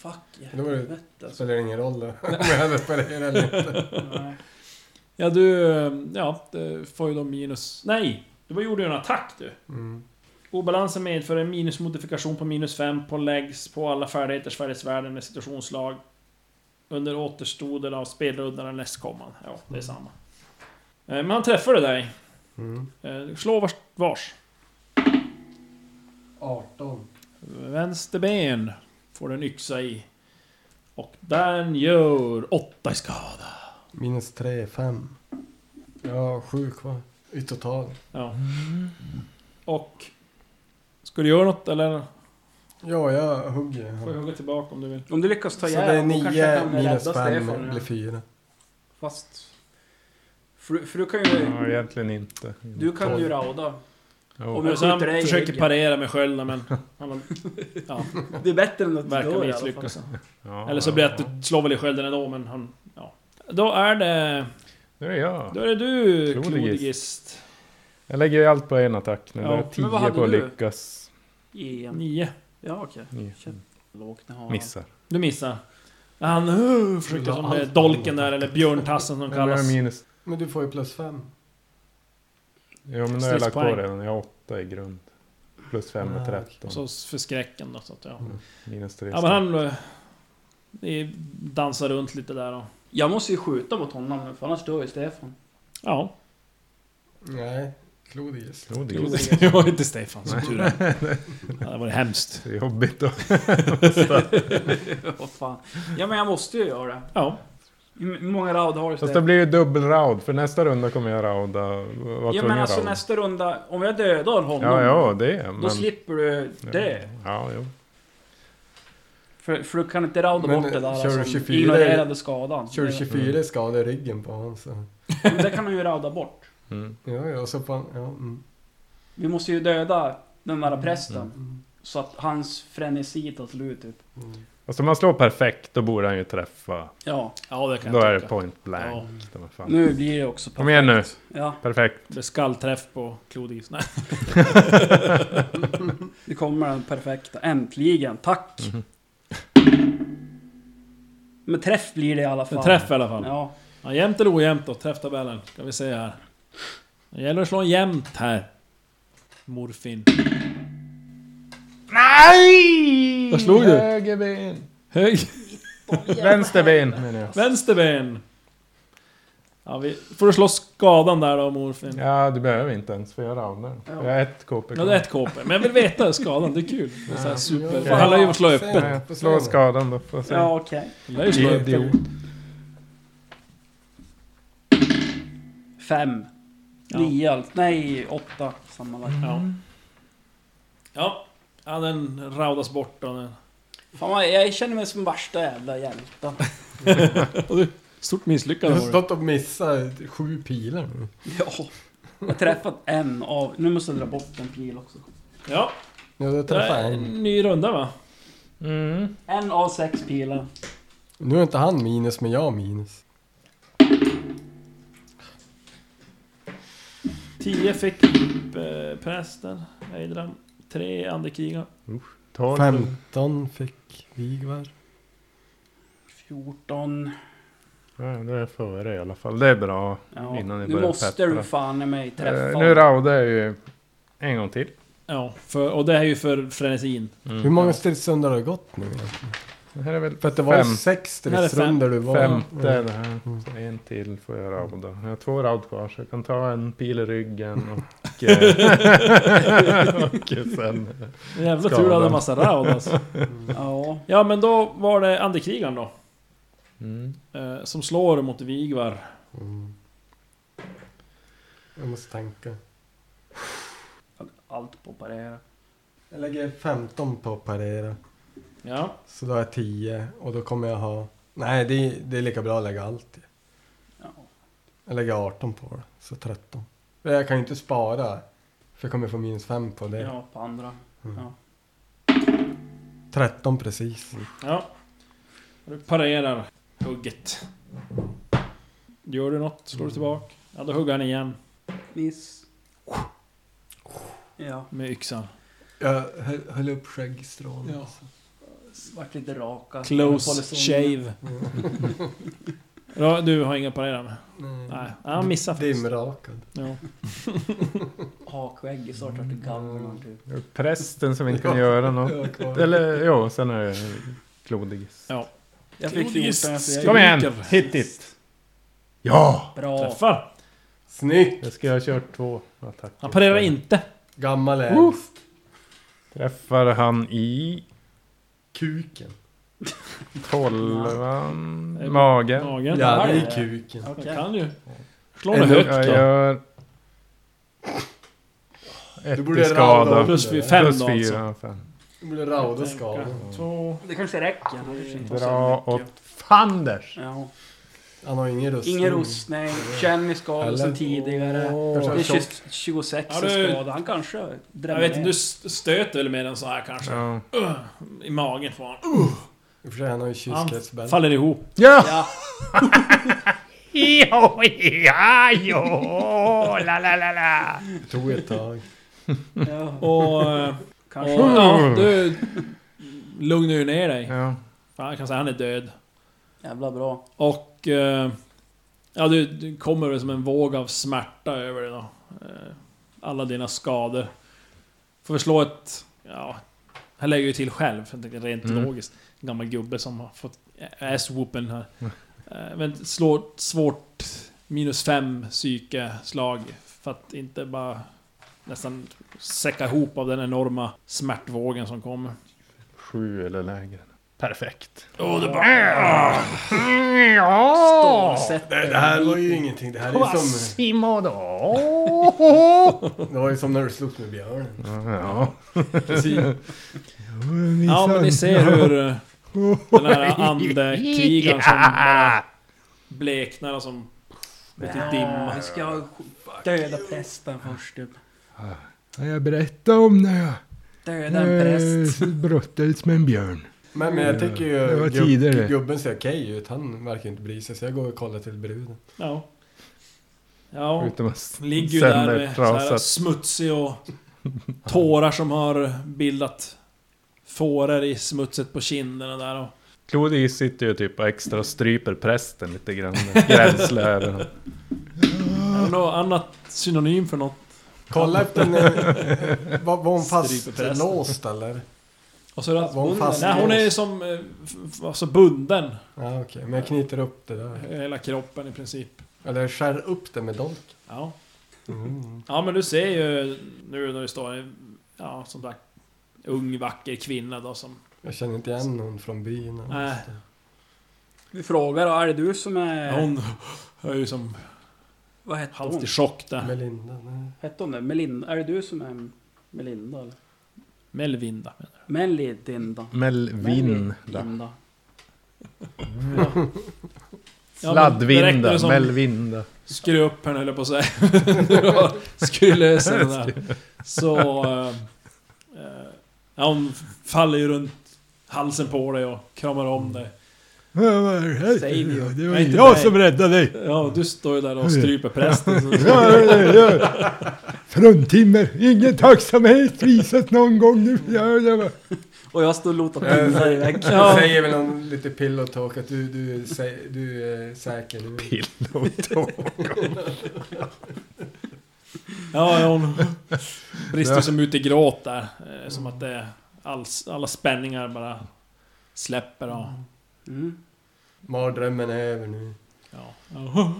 Fuck Då var det- helvete alltså. Spelar det ingen roll då? Om jag hade spelat eller inte. Nej. Ja, du... eh, Ja, det får ju då minus... Nej! Du gjorde ju en attack du. Mm. Obalansen medför en minusmodifikation på minus 5 på legs på alla färdigheter, färdighetsvärden med situationsslag. Under återstoden av spelrundan är nästkommande. Ja, det är samma. Eh, Men han träffade dig. Mm. Eh, Slå vars. vars. 18. Vänster ben får du en yxa i. Och den gör 8 i skada. Minus 3, 5. Jag har 7 kvar. I total. Ja. Och... Ska du göra något eller? Ja, jag hugger. Får jag hugga tillbaka om du vill. Om du lyckas ta Så det är ihjäl då kanske jag 9 kan minus rädda 5 Stefan, blir ja. 4. Fast... För, du- för du kan ju... Ja, egentligen inte. Du kan ju rauda. Jo. Om jag Så han skjuter dig i försöker ryggen. parera med skölden men... Han har- ja, Det är bättre än att du dör verkar i alla fall. misslyckas. Ja, Eller så ja, blir det att ja. du slår väl i skölden ändå, men han... Ja. Då är det... Nu är det jag. Då är det du, Klodigist. Klodigist. Jag lägger ju allt på en attack nu. Ja, det men är vad tio hade på att du? lyckas. Igen. Nio. Ja okej. Nio. Shit. Lågt, ni har- Missar. Du missar. Han uh, försökte som det är dolken där, eller björntassen som Men jag kallas. har minus... Men du får ju plus 5. Ja, men nu har jag lagt på Stridspoäng. redan. Jag har åtta i grund. Plus fem Ah, är okej. tretton. Och så förskräcken då, så att ja. Minus tre. Ja men han... eh, eh, Dansar runt lite där och... Jag måste ju skjuta mot honom nu, för annars dör ju Stefan. Ja. Nej, Clodius. Jo, det är ju Det var inte Stefan som tur är. Ja, Det var hemskt. så jobbigt då. Vad fan. Ja men jag måste ju göra det. Ja. Hur hur många raud har du Fast det Stefan? blir ju dubbel round. För nästa runda kommer jag rauda. Var Ja tvungen men alltså round. nästa runda, om jag dödar honom. Ja, ja, det. är- Men... Då slipper du det. Ja, jo. För, för du kan inte rauda Men, eh, bort det där kör du alltså, 24? ignorerade skadan. Kör Det- 24 skador i ryggen på honom så. Men det kan man ju rauda bort. Mm. Ja, ja, så fan. Ja, mm. Vi måste ju döda den där prästen. Mm. Så att hans frenesi tar slut typ. Mm. Alltså om han slår perfekt då borde han ju träffa. Ja, Ja, det kan Då jag är det tycka. point blank. Ja. Det var fan. nu blir det också Kom igen nu. Ja, Perfekt. Det är skallträff på Klodigist. Nej. det kommer den perfekta. Äntligen, tack! Mhm. Men träff blir det i alla fall. En träff i alla fall. Ja. Ja, jämnt eller ojämnt då? Träfftabellen. Ska vi se här. Det gäller att slå jämnt här. Morfin. Nej! Vad slog du? Höger ben. Hög. Vänster ben menar jag. Vänster ben. Ja, vi får du slå skadan där då morfin. Ja, du behöver inte ens för jag roundar. Jag har ett KP Ja, det är ett KP. Men jag vill veta skadan, det är kul. Det är så här super... Ja. Det handlar ju om att slå Säg öppet. det. Nej, jag slår skadan då. Får se. Ja, okej. Det lär ju slå öppet. Idiot. Fem. Ja. Nio allt. Nej, åtta sammanlagt. Ja. Ja. Ja, den raudas bort då. den- Fan, vad- jag känner mig som värsta jävla hjälten. Stort Jag misslyckande har var det. stått och missat sju pilar nu. Ja. Jag har träffat en av... Nu måste jag dra bort en pil också. Ja, Ja, jag det är träffade en en. ny runda va? Mm. En av sex pilar. Nu är inte han minus, men jag har minus. 10 fick eh, prästen, Eidram. 3 andekriga. 12. 15 fick Vigvar. 14. Nej, det är före i alla fall. Det är bra. Ja, Innan ni nu börjar måste peppa. du fan i mig träffa. Eh, nu raudar jag ju en gång till. Ja, för, och det är ju för frenesin. Hur många stridsrundor har det gått nu egentligen? Det här är väl För att det var ju fem- sex här är fem- stridsrundor du var. femte Mm. det här. Så en till får jag rauda. Jag har två raud kvar så jag kan ta en pil i ryggen och... eh, och sen... Jävla tur Skadan. du hade en massa raud alltså. Ja. Ja men då var det andekrigaren då. Mm. Eh, som slår mot Vigvar. Mm. Jag måste tänka. Allt på parera. Jag lägger 15 på parera. Ja. Så då har jag 10 och då kommer jag ha... Nej, det är, det är lika bra att lägga allt i. Ja. Jag lägger 18 på det, så 13. Men jag kan ju inte spara. För jag kommer få minus 5 på det. ja, på andra. Mm. Ja. 13 precis. Ja. Du parerar hugget. Gör du något? Slår du tillbaka? Ja, då hugger han igen Miss. Ja, med yxan. Jag höll, höll upp skäggstrån. Ja. vart lite raka. Close Polisoner. shave. Ja, du har inga parerar med? Mm. Nej, han missar faktiskt. Dimrakad. Ja. Hakskägg i snart vart det gammel typ. Prästen som inte kan Ja. göra något. Jag har kvar. Eller jo, sen är det klodigis. Jag fick Klodis 14 så ska- jag Kom igen! Skriker. Hit it! Ja! bra. Träffar! Snyggt! Jag ska ha kört två attacker. Han parerar inte. Gammal Woof. ägst. Träffar han i Kuken. tolvan, Ja. magen. Magen. Ja, där det är- är kuken. Han Okej. kan ju. Slår med Eller- högt Jag då. gör... Du Ett borde i rada skada. upp. Plus fem Plus då alltså. fyra. Fem. Det blir rauda skador. Två. Det kanske räcker. Det kanske inte var så Dra mycket. åt fanders! Ja. Han har ingen rustning. Ingen rustning, känner skador Eller- som tidigare. Kanske Det har är tjock 20, 26 Ja, ja, du- skada. Han kanske Jag drämmer vet inte, ner. du stöter väl med den så här kanske? Ja. I magen får han. I och för sig, han har ju Han kyskhetsbälte. faller ihop. Ja! Jo, Ja, ja, jo, la, la, la, la. Det tog ett tag. ja. Och... eh, Och, Kanske. ja, du lugnar ju ner dig. Ja. Fan, jag kan säga han är död. Jävla bra. Och... eh, Ja, du, du kommer väl som en våg av smärta över dig då. Eh, Alla dina skador. Får vi slå ett... Ja... Han lägger ju till själv, jag tänker rent Mm. logiskt. En gammal gubbe som har fått ass-whoopen här. Mm. Eh, Men slå ett svårt minus fem psykeslag. För att inte bara nästan säcka ihop av den enorma smärtvågen som kommer. Sju eller lägre. Perfekt. Åh, det bara... Stålsätter. Det här var ju ingenting. Det här är ju som, Quasimodo! det var ju som när du slogs med björnen. Ja. Precis. Ja, men ni ser hur eh, den här andekrigaren som bara bleknar och som går till Ja, dimma. vi ska döda prästen först. typ. Jag berättade om när jag Döda en präst. eh, brottades med en björn. Men, men jag tycker Mm. Det ju var tidigare. gubben ser okej ut. Han verkar inte bry sig. Så jag går och kollar till bruden. Ja. Ja, Utom att ligger ju sen där är med så här trasat. smutsig och tårar som har bildat fårar i smutset på kinderna där och... Clodi sitter ju typ och extra stryper prästen lite grann. Gränsle över honom. Är det något annat synonym för något? Kolla efter den... eh, Var, var hon Stryper prästen. fastlåst eller? Och så är det att Var hon Bunden. fastlåst? Nej, hon är ju som... eh, f- f- Alltså bunden. Ja, okej. Men jag knyter upp det där. Hela kroppen i princip. Eller jag skär upp det med dolk. Ja. Mm. Ja men du ser ju nu när det står en, ja som sagt, ung vacker kvinna då som... Jag känner inte igen hon från byn. eller Nej. något. Vi frågar då, är det du som är... Hon är ju som Vad hette hon? halvt i chock där. Melinda, nej. Hette hon det? Melinda? Är det du som är Melinda eller? Melvinda. Melidinda. Melvin. Melinda. Ja, men direkt när Sladdvinda. du som- Melvinda. Skru upp henne höll jag på att säga. Du har- Skru lös henne där. Så... eh, eh, Ja, hon faller ju runt halsen på dig och kramar om dig. Ja, vad är det här? Säg det ju. Det var Nej, inte jag mig. som räddade dig. Ja, du står ju där och stryper prästen. Så. Ja, ja, ja. Fruntimmer, ingen tacksamhet visas någon gång nu. Ja, ja, va. Och jag står och lotar pinnar i väggen. Jag Eh, säger väl någon lite pillotalk att du, du, är sä- du är säker. Du, Ja, ja, hon brister som ut i gråt där. Eh, Som att det alls, alla spänningar bara släpper och... Mm. mardrömmen är över nu. Ja. ja.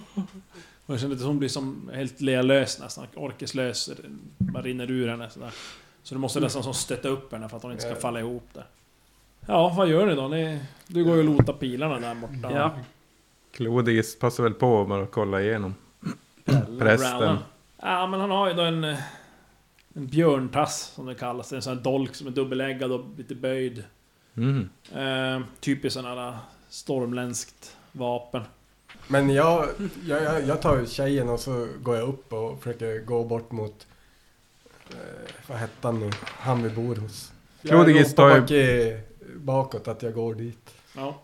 Och jag känner att hon blir som helt lealös nästan. Orkeslös. Bara rinner ur henne sådär. Så du måste nästan som stötta upp henne för att hon inte ska falla ihop där. Ja, vad gör ni då? Ni, du går ju och lotar pilarna där borta. Ja. Clodis passar väl på bara att kolla igenom. Prästen. Rallen. Ja, men han har ju då en... eh, En björntass som det kallas. En sån här dolk som är dubbeläggad och lite böjd. Mm. Eh, typiskt sån här stormländskt vapen. Men jag, jag, jag, jag tar ut tjejen och så går jag upp och försöker gå bort mot... Eh, vad hette han nu? Han vi bor hos. Klodigis Jag ropar tar ju- bak i- bakåt att jag går dit. Ja.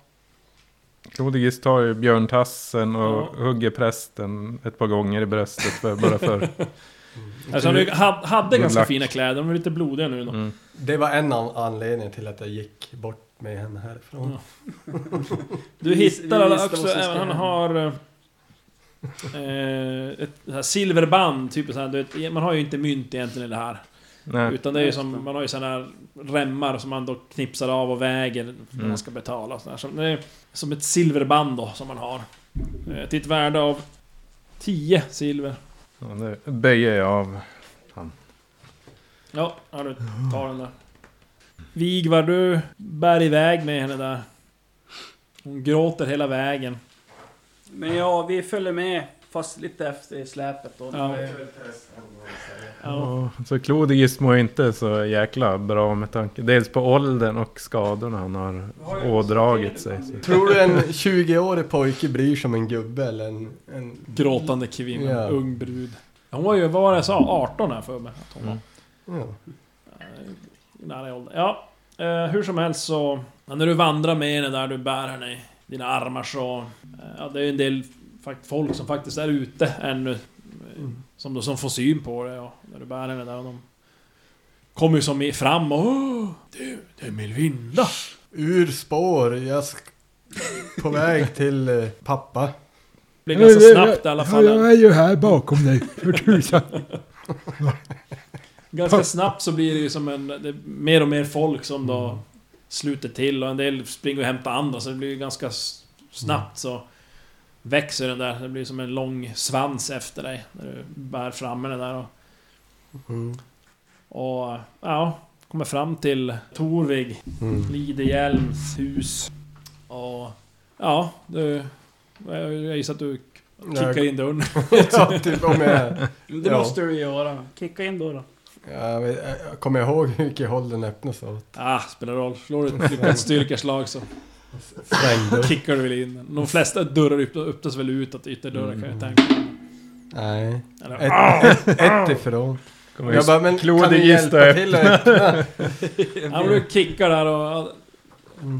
Clodigis tar ju björntassen och Ja. hugger prästen ett par gånger i bröstet för, bara för. Alltså han hade- hade Good ganska luck. fina kläder, de är lite blodiga nu då. Mm. Det var en av anledningarna till att jag gick bort med henne härifrån. Ja. Du Vi vis- hittar vi alla visste också, vad som även han ska har... eh, Eh, ett så här silverband, typ så här, du vet, man har ju inte mynt egentligen i det här. Nej. Utan det är ju just det. som, man har ju såna här remmar som man då knipsar av och väger när man ska betala och sådär. Så det är som ett silverband då, som man har. Eh, till ett värde av 10 silver. Ja, nu böjer jag av. Ja, ja du tar den där. Vigvar, du bär iväg med henne där. Hon gråter hela vägen. Men ja, vi följer med. Fast lite efter i släpet då. Ja. Ja. Ja, Så Clodigis mår inte så jäkla bra med tanke. Dels på åldern och skadorna han har ådragit sig. Så. Tror du en 20-årig pojke bryr sig om en gubbe eller en... en Gråtande kvinna, Ja. ung brud. Hon var ju, vad var det jag sa, 18 här för mig att hon var. ja. I Nära i ålder. Ja, eh, hur som helst så... ja, När du vandrar med henne där, du bär henne i dina armar så... eh, Ja, det är ju en del fakt- folk som faktiskt är ute ännu. eh, Som, då, som får syn på det och när du bär henne där och de... Kommer ju som i- fram och... "Åh, Du, det är Melvinda! Ur spår, jag sk- på väg till eh, pappa. Det blir ganska Ja, snabbt i alla fall. Ja, jag är ju här bakom dig, för tusan. Ganska snabbt så blir det ju som en... Det är mer och mer folk som då sluter till och en del springer och hämtar andra så det blir ju ganska s- snabbt så växer den där. Det blir som en lång svans efter dig när du bär fram den där och... Mm. Och ja, kommer fram till Torvig Mm. Lidehjelms hus. Och ja, du... Jag gissar att du kickar in dörren. ja, typ om jag... Det Ja. måste du göra. Kicka in då. då. Ja, men jag, jag kommer ihåg hur mycket håll den öppnas åt. Ah, spelar roll. Slår du typ ett lyckat styrkaslag så Svängde. kickar du väl in den. De flesta dörrar upp- öppnas väl utåt, ytterdörrar kan jag tänka mig. Nej. Eller- Ett, ett, ett ifrån. Kommer Jag bara, men kan Klodig du gista hjälpa upp. till att öppna? Ja, men du kickar där och...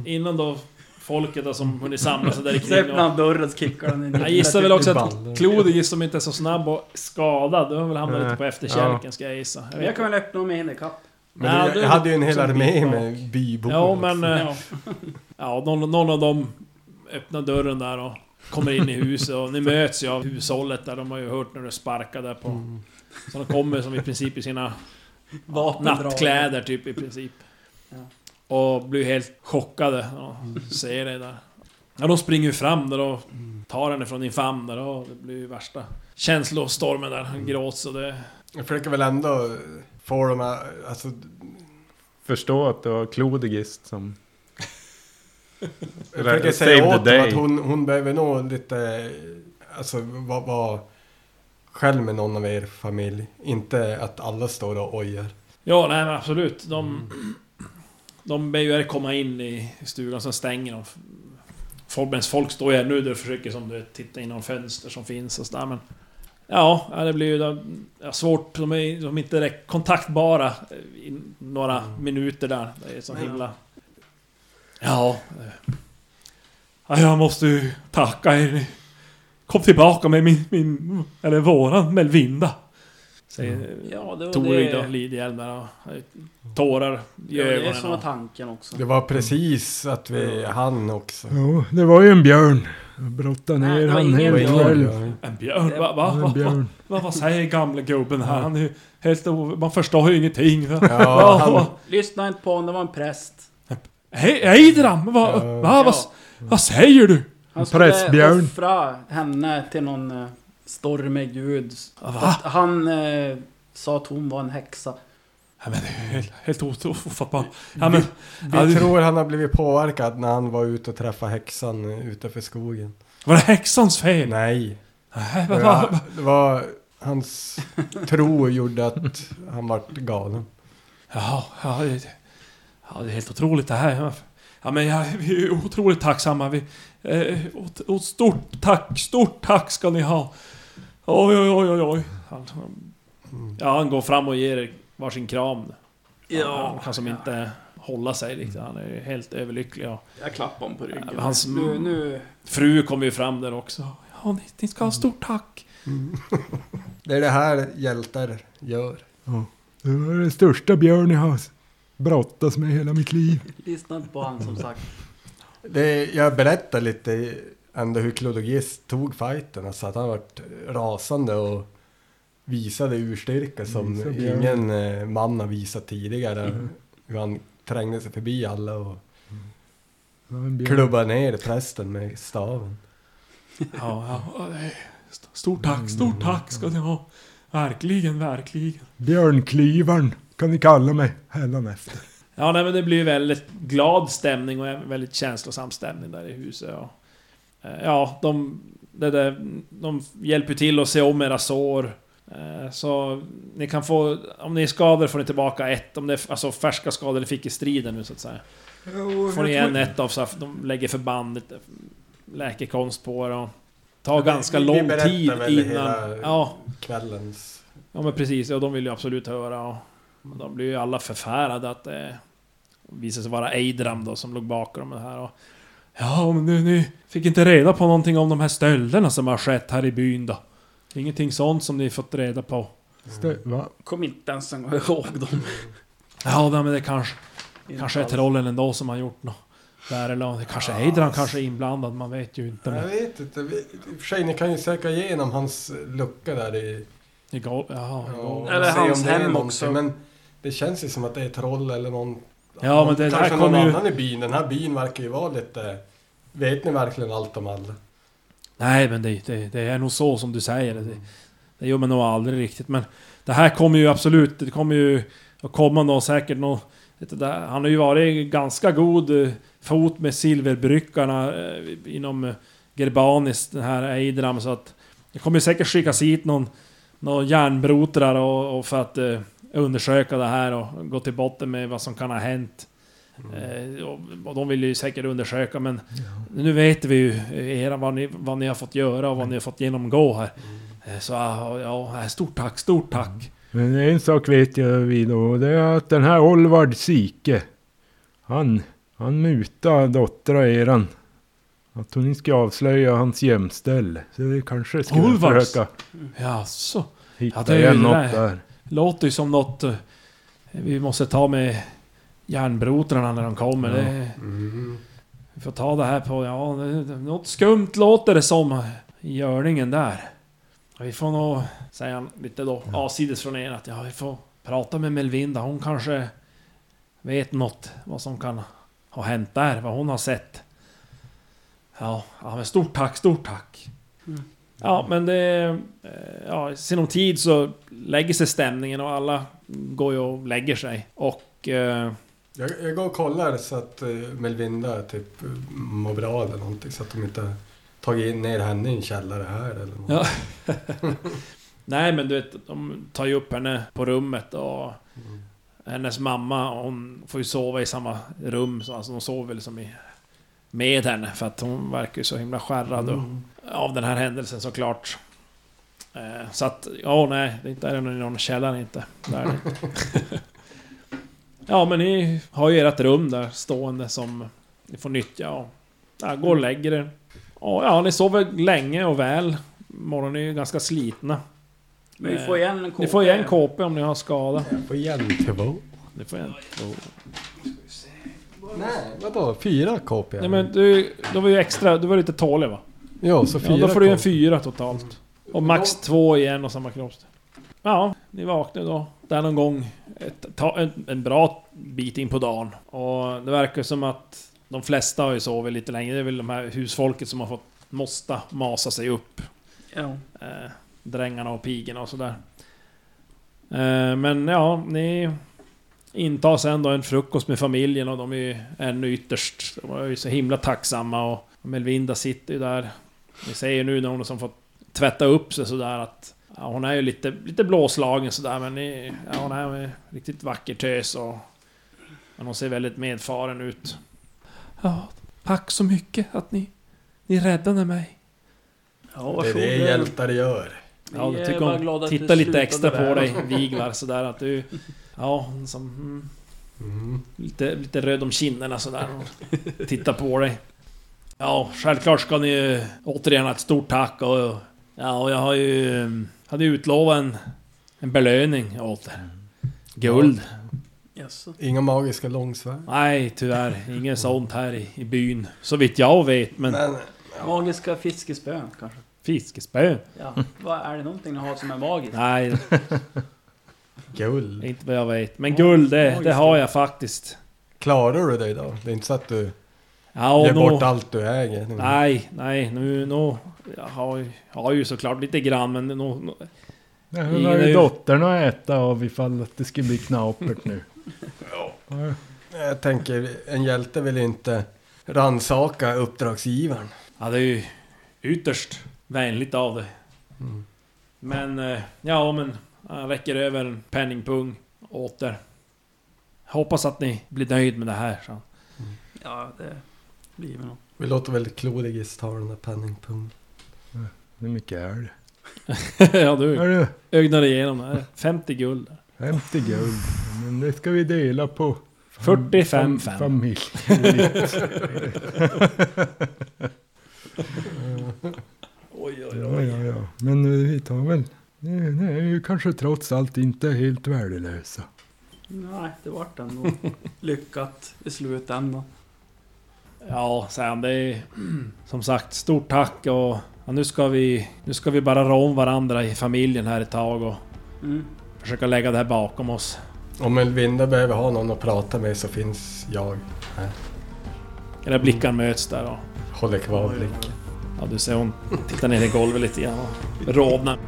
Innan då folket då som hunnit samla sig där i Så kring. öppnar Och, han dörren så kickar han in. jag gissar väl också Ballen. att Klodig som inte är så snabb och skadad, då har väl hamnat lite på efterkälken ska jag gissa. Jag Men jag vet. kan väl öppna om jag hinner ikapp. Men Ja, jag, du- jag hade ju en hel som armé bidrar. med bybor. Ja, men... eh, Ja. Ja, någon, någon av dem öppnar dörren där och kommer in i huset och ni möts ju av hushållet där, de har ju hört när du sparkar där på... Så de kommer som i princip i sina Vapendrag. Nattkläder typ i princip. Ja. Och blir helt chockade och ser dig där. Ja, de springer ju fram där och tar henne från din famn där och det blir ju värsta känslostormen där. Han gråts och det... Jag försöker väl ändå få dem att... Alltså, förstå att det var Clodigis som... jag försöker Save the säga åt dem day. att hon, hon behöver nog lite... Alltså vara vara själv med någon av er familj. Inte att alla står och ojar. Ja, nej men absolut. De... De ber ju er komma in i stugan, sen stänger de. Forbens folk står ju här nu där och försöker som du vet, titta in genom fönster som finns och sådär men... Ja, ja, det blir ju ja, svårt. De är, de är inte direkt kontaktbara i några minuter där. Det är så himla... Ja... eh. "Nej, Jag måste ju tacka er. Ni kom tillbaka med min, min eller våran Melvinda. Säger Ja, det var Toryd det. och Lidhjälm där och eh, tårar i Ja, det är ögonen. som var och- tanken också. Det var precis att vi hann också. Jo, det var ju en björn. Brotta ner Nej, det var han ingen Det var helt ingen själv. björn. En björn? Va, va, Det var va, En va, björn. vad- vad säger gamle gubben här? Han är ju helt o- Man förstår ju ingenting. Ja, han, Lyssna inte på honom, det var en präst. Hej, Eidram! Va, Ja. va, vad s- vad säger du? Han prästbjörn. skulle offra henne till någon eh, stormig gud. För att Han eh, sa att hon var en häxa. Ja, men det är helt, helt o- ofattbart. Ja, men, ja, vi det- tror han har blivit påverkad när han var ute och träffade häxan eh, utanför skogen. var det häxans fel? Nej, Nej, det va, va, var, det var hans tro gjorde att han vart galen. ja, ja, det, ja, det är helt otroligt det här. Ja, men jag, vi är otroligt tacksamma. Vi, eh, och, och stort tack, stort tack ska ni ha. Oj, oj, oj, oj, oj. Han, Ja, han går fram och ger er varsin kram. Ja. han kan som inte hålla sig riktigt. Han är ju helt överlycklig. Och Jag klappade honom på ryggen. Ja, men hans- Nu, nu... fru kommer ju fram där också. ja, ni, ni ska ha stort tack. Det är det här hjältar gör. Det var den största björn jag har brottats med hela mitt liv. Lyssna inte på honom som sagt. Det, jag berättar lite ändå hur Klodogis tog fighten. Alltså att han vart rasande och visade urstyrka som Visa björn. ingen eh, man har visat tidigare. Mm-hmm. Hur han trängde sig förbi alla och Det var en björn. klubbade ner prästen med staven. Ja, ja, ja, det är- st- stort tack, stort tack ska ni ha. Verkligen, verkligen. Björnklyvaren kan ni kalla mig hädanefter. Ja, nej, men det blir ju väldigt glad stämning och en väldigt känslosam stämning där i huset. Och, eh, ja, de, det där, de hjälper till att se om era sår. Eh, Så ni kan få, om ni är skadade får ni tillbaka ett, om det är alltså färska skador ni fick i striden nu så att säga. Får ni igen ett av, så här, de lägger förbandet, läkekonst på er och tar Ja, vi- ganska vi lång berättar tid väl innan... hela- Ja, Kvällens... Ja men precis, och de vill ju absolut höra och, och de blir ju alla förfärade att eh, det visar sig vara Eidram då som låg bakom det här och Ja, men nu, ni fick inte reda på någonting om de här stölderna som har skett här i byn då? Ingenting sånt som ni fått reda på? Stö- va? Kom inte ens en gång ihåg dem. Ja, nej, men det kanske, kanske är Inte alls. trollen ändå som har gjort något. Där eller det kanske är Adrian kanske är inblandad, man vet ju inte. Jag Men, vet inte. Vi, I och för sig, ni kan ju söka igenom hans lucka där i... i gol- ja, i gol- och Eller se hans om det är hem någonting, också. Men det känns ju som att det är troll eller någon... Ja, men det där Kanske någon kommer ju- annan i byn. Den här byn verkar ju vara lite... Vet ni verkligen allt om alla? Nej, men det, det, det är nog så som du säger. Det, det gör man nog aldrig riktigt. Men det här kommer ju absolut, det kommer ju att komma någon säkert någon, vet du, där- Han har ju varit ganska god eh, fot med silverbryggarna eh, inom eh, Gerbanis, den här Eidram. Så att det kommer ju säkert skickas hit någon, någon järnbrotrar och, och för att eh, undersöka det här och gå till botten med vad som kan ha hänt. Eh, och, och de vill ju säkert undersöka men nu vet vi ju eh, era, vad, ni, vad ni har fått göra och vad ni har fått genomgå här. Eh, Så ja, ja, stort tack, stort tack. Men en sak vet jag vi då. och Det är att den här Olvard Sike. Han, han mutade dottern eran. Att hon inte ska avslöja hans gömställe. Så det kanske skulle Olvards? försöka Ja, så hitta Ja, det är igen ju det något där. där. låter ju som något eh, vi måste ta med järnbrotrarna när de kommer. Det, vi får ta det här på, ja, det- det- något skumt låter det som i görningen där. Vi får nog, säger han lite då avsides från er, att ja, vi får prata med Melvinda. Hon kanske vet något vad som kan ha hänt där, vad hon har sett. Ja, ja men stort tack, stort tack. Mm. Ja, men det... eh, Ja, i sinom tid så lägger sig stämningen och alla går ju och lägger sig. Och... Eh, Jag, jag går och kollar så att eh, Melvinda typ eh, mår bra eller någonting. Så att de inte har tagit in ner henne i en källare här eller något. Ja. nej, men du vet, de tar ju upp henne på rummet och... Hennes mamma, hon får ju sova i samma rum, så alltså de sover väl som i... Med henne, för att hon verkar ju så himla skärrad och, av den här händelsen såklart. Eh, så att, ja nej, det är inte är det någon källare inte. Det är det inte. ja men ni har ju ert rum där stående som ni får nyttja och Ja, går och lägger er. Ja, ja, ni sover länge och väl. Morgonen är ju ganska slitna. Men vi får igen en Ni får igen KP om ni har skada. På jämnivå. Ni får igen. Nej, vadå? Fyra KP? Nej men du, då var ju extra, du var lite tålig va? Ja, så fyra Ja, då får du ju en KP. fyra totalt. Och max två igen och samma kroppsdel. Ja, ni vaknar då. Där någon gång. Ett, ta, en, en bra bit in på dagen. Och det verkar som att de flesta har ju sovit lite längre. Det är väl de här husfolket som har fått måste masa sig upp. Ja. Eh, drängarna och pigorna och sådär. Eh, men ja, ni intar sen då en frukost med familjen och de är ju ännu ytterst... De är ju så himla tacksamma och Melvinda sitter ju där. Ni ser ju nu när hon har som fått tvätta upp sig sådär att... Ja, hon är ju lite, lite blåslagen sådär men ni, ja, hon är ju riktigt vacker tös och... Men hon ser väldigt medfaren ut. Ja, tack så mycket att ni... Ni räddade mig. ja, Det är varsågod. det hjältar gör. Vi Ja, är då tycker bara glada hon att det titta lite slutade extra på väl. dig, Vigvar, sådär att du... Ja, hon som... Mm, lite, lite röd om kinderna sådär. och Titta på dig. Ja, självklart ska ni ju återigen ha ett stort tack och... Ja, och jag har ju... mm, Hade ju utlovat en, en belöning åt er. Guld. Jaså. Inga magiska långsvärd. Nej, tyvärr. Inget sånt här i, i byn. Så vitt jag vet, men... Men Magiska fiskespön kanske? Fiskespö? Ja. Vad är det någonting ni har som är magiskt? Nej, guld. inte vad jag vet. Men guld, det, det har jag faktiskt. Klarar du dig då? Det är inte så att du Ja, och ger nå- bort allt du äger? Nej, nej, nu, nu jag har, ju- jag har ju såklart lite grann men nu, nu, Nej, Ingen Hon har är ju- ju dottern att äta av ifall att det skulle bli knapert nu. ja. Jag tänker, en hjälte vill inte ransaka uppdragsgivaren. ja, det är ju ytterst vänligt av dig. Mm. Men, eh, ja men, jag räcker över en penningpung åter. Hoppas att ni blir nöjd med det här. Så. Ja, det blir väl något. Vi låter väl Klodigis ta den där penningpungen. Hur mycket är det? ja du, Är det ögnade igenom det här. 50 guld. 50 guld? Men det ska vi dela på. fam- 45 fam- fem. Familj. Oj, Ja, ja, ja. Men eh, vi tar väl... Nu nu är vi ju kanske trots allt inte helt värdelösa. Nej, det vart ändå lyckat i slutändan. Ja, sen det är som sagt stort tack och ja, nu ska vi, nu ska vi bara rå om varandra i familjen här ett tag och Mm. försöka lägga det här bakom oss. Om Elvinda behöver ha någon att prata med så finns jag. Era blickar möts där och Håller kvar blicken. ja, du ser hon tittar ner i golvet lite grann och rodnar.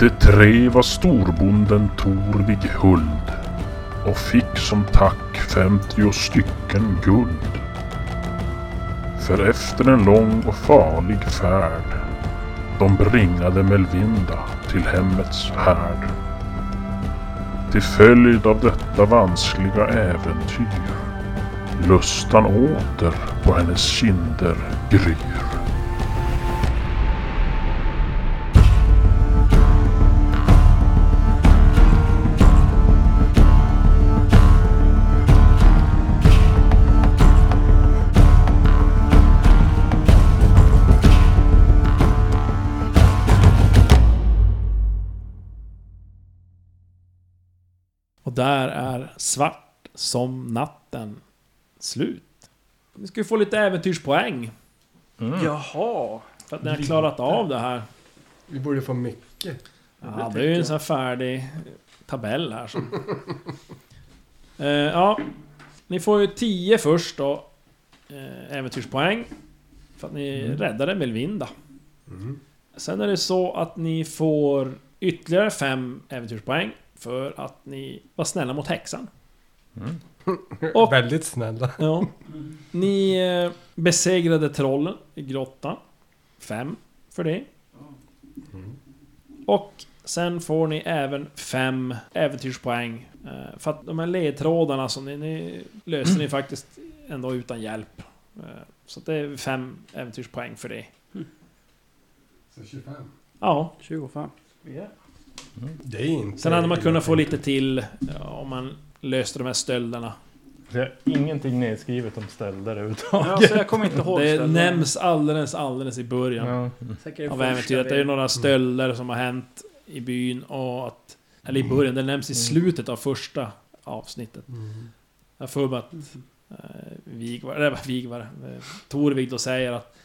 De tre var storbonden Torvig Huld och fick som tack 50 stycken guld. För efter en lång och farlig färd de bringade Melvinda till hemmets härd. Till följd av detta vanskliga äventyr lustan åter på hennes kinder gryr. Och där är Svart som natten slut. Ni ska ju få lite äventyrspoäng Jaha! för att ni har klarat av det här. Vi borde få mycket. Ja, det är ju en sån här färdig tabell här som... Eh, ja, ni får ju 10 först då. Eh, äventyrspoäng. För att ni räddade Melvinda. Mm. Sen är det så att ni får ytterligare 5 äventyrspoäng. För att ni var snälla mot häxan. Och- Väldigt snälla. Ja. Ni eh, besegrade trollen i grottan. Fem för det. Och sen får ni även fem äventyrspoäng. eh, För att de här ledtrådarna som ni, ni löser ni faktiskt ändå utan hjälp. Eh, Så att det är fem äventyrspoäng för det. Så 25. Ja, 25. Det är inte... sen hade man kunnat få lite till eh, om man löste de här stölderna. Så jag har ingenting nedskrivet om stölder överhuvudtaget. Ja, så jag kommer inte ihåg Det ställen. nämns alldeles, alldeles i början. Ja. Säkert av första äventyret. Det är ju vi- några stölder som har hänt i byn och att... Eller i Mm. början, det nämns i slutet av första avsnittet. Jag får mig att... Eh, Vigvar, eller Vigvar, eh, Torvig då säger att...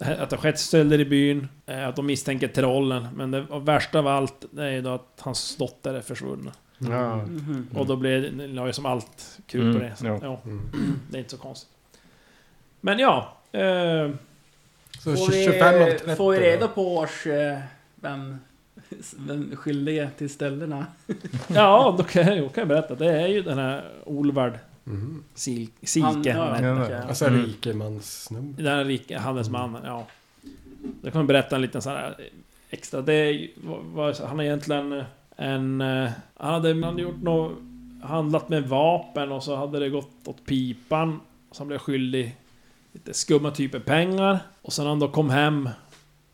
Att det har skett stölder i byn, eh, att de misstänker trollen. Men det värsta av allt det är ju då att hans dotter är försvunnen. Ja. Mhm. Och då blir det la ju som allt krut på Mm, det. Så, ja. ja. Det är inte så konstigt. Men ja... Eh, Så Får vi- 25 av 30. Får vi reda på års... eh, Vem, vem skyldig till ställena? Ja, då kan jag, då kan jag berätta. Det är ju den här Olvard mm. Mhm. Sil- Han- Silke. ja, Han, ja. heter. okej. Alltså Mm. rikemanssnubbe. Den här rika handelsmannen, ja. Jag kommer berätta en liten sån här extra. Det är, ju- var, var, han är egentligen en... eh, Han hade, han hade gjort något... Handlat med vapen och så hade det gått åt pipan. Så han blev skyldig lite skumma typer pengar. Och sen när han då kom hem...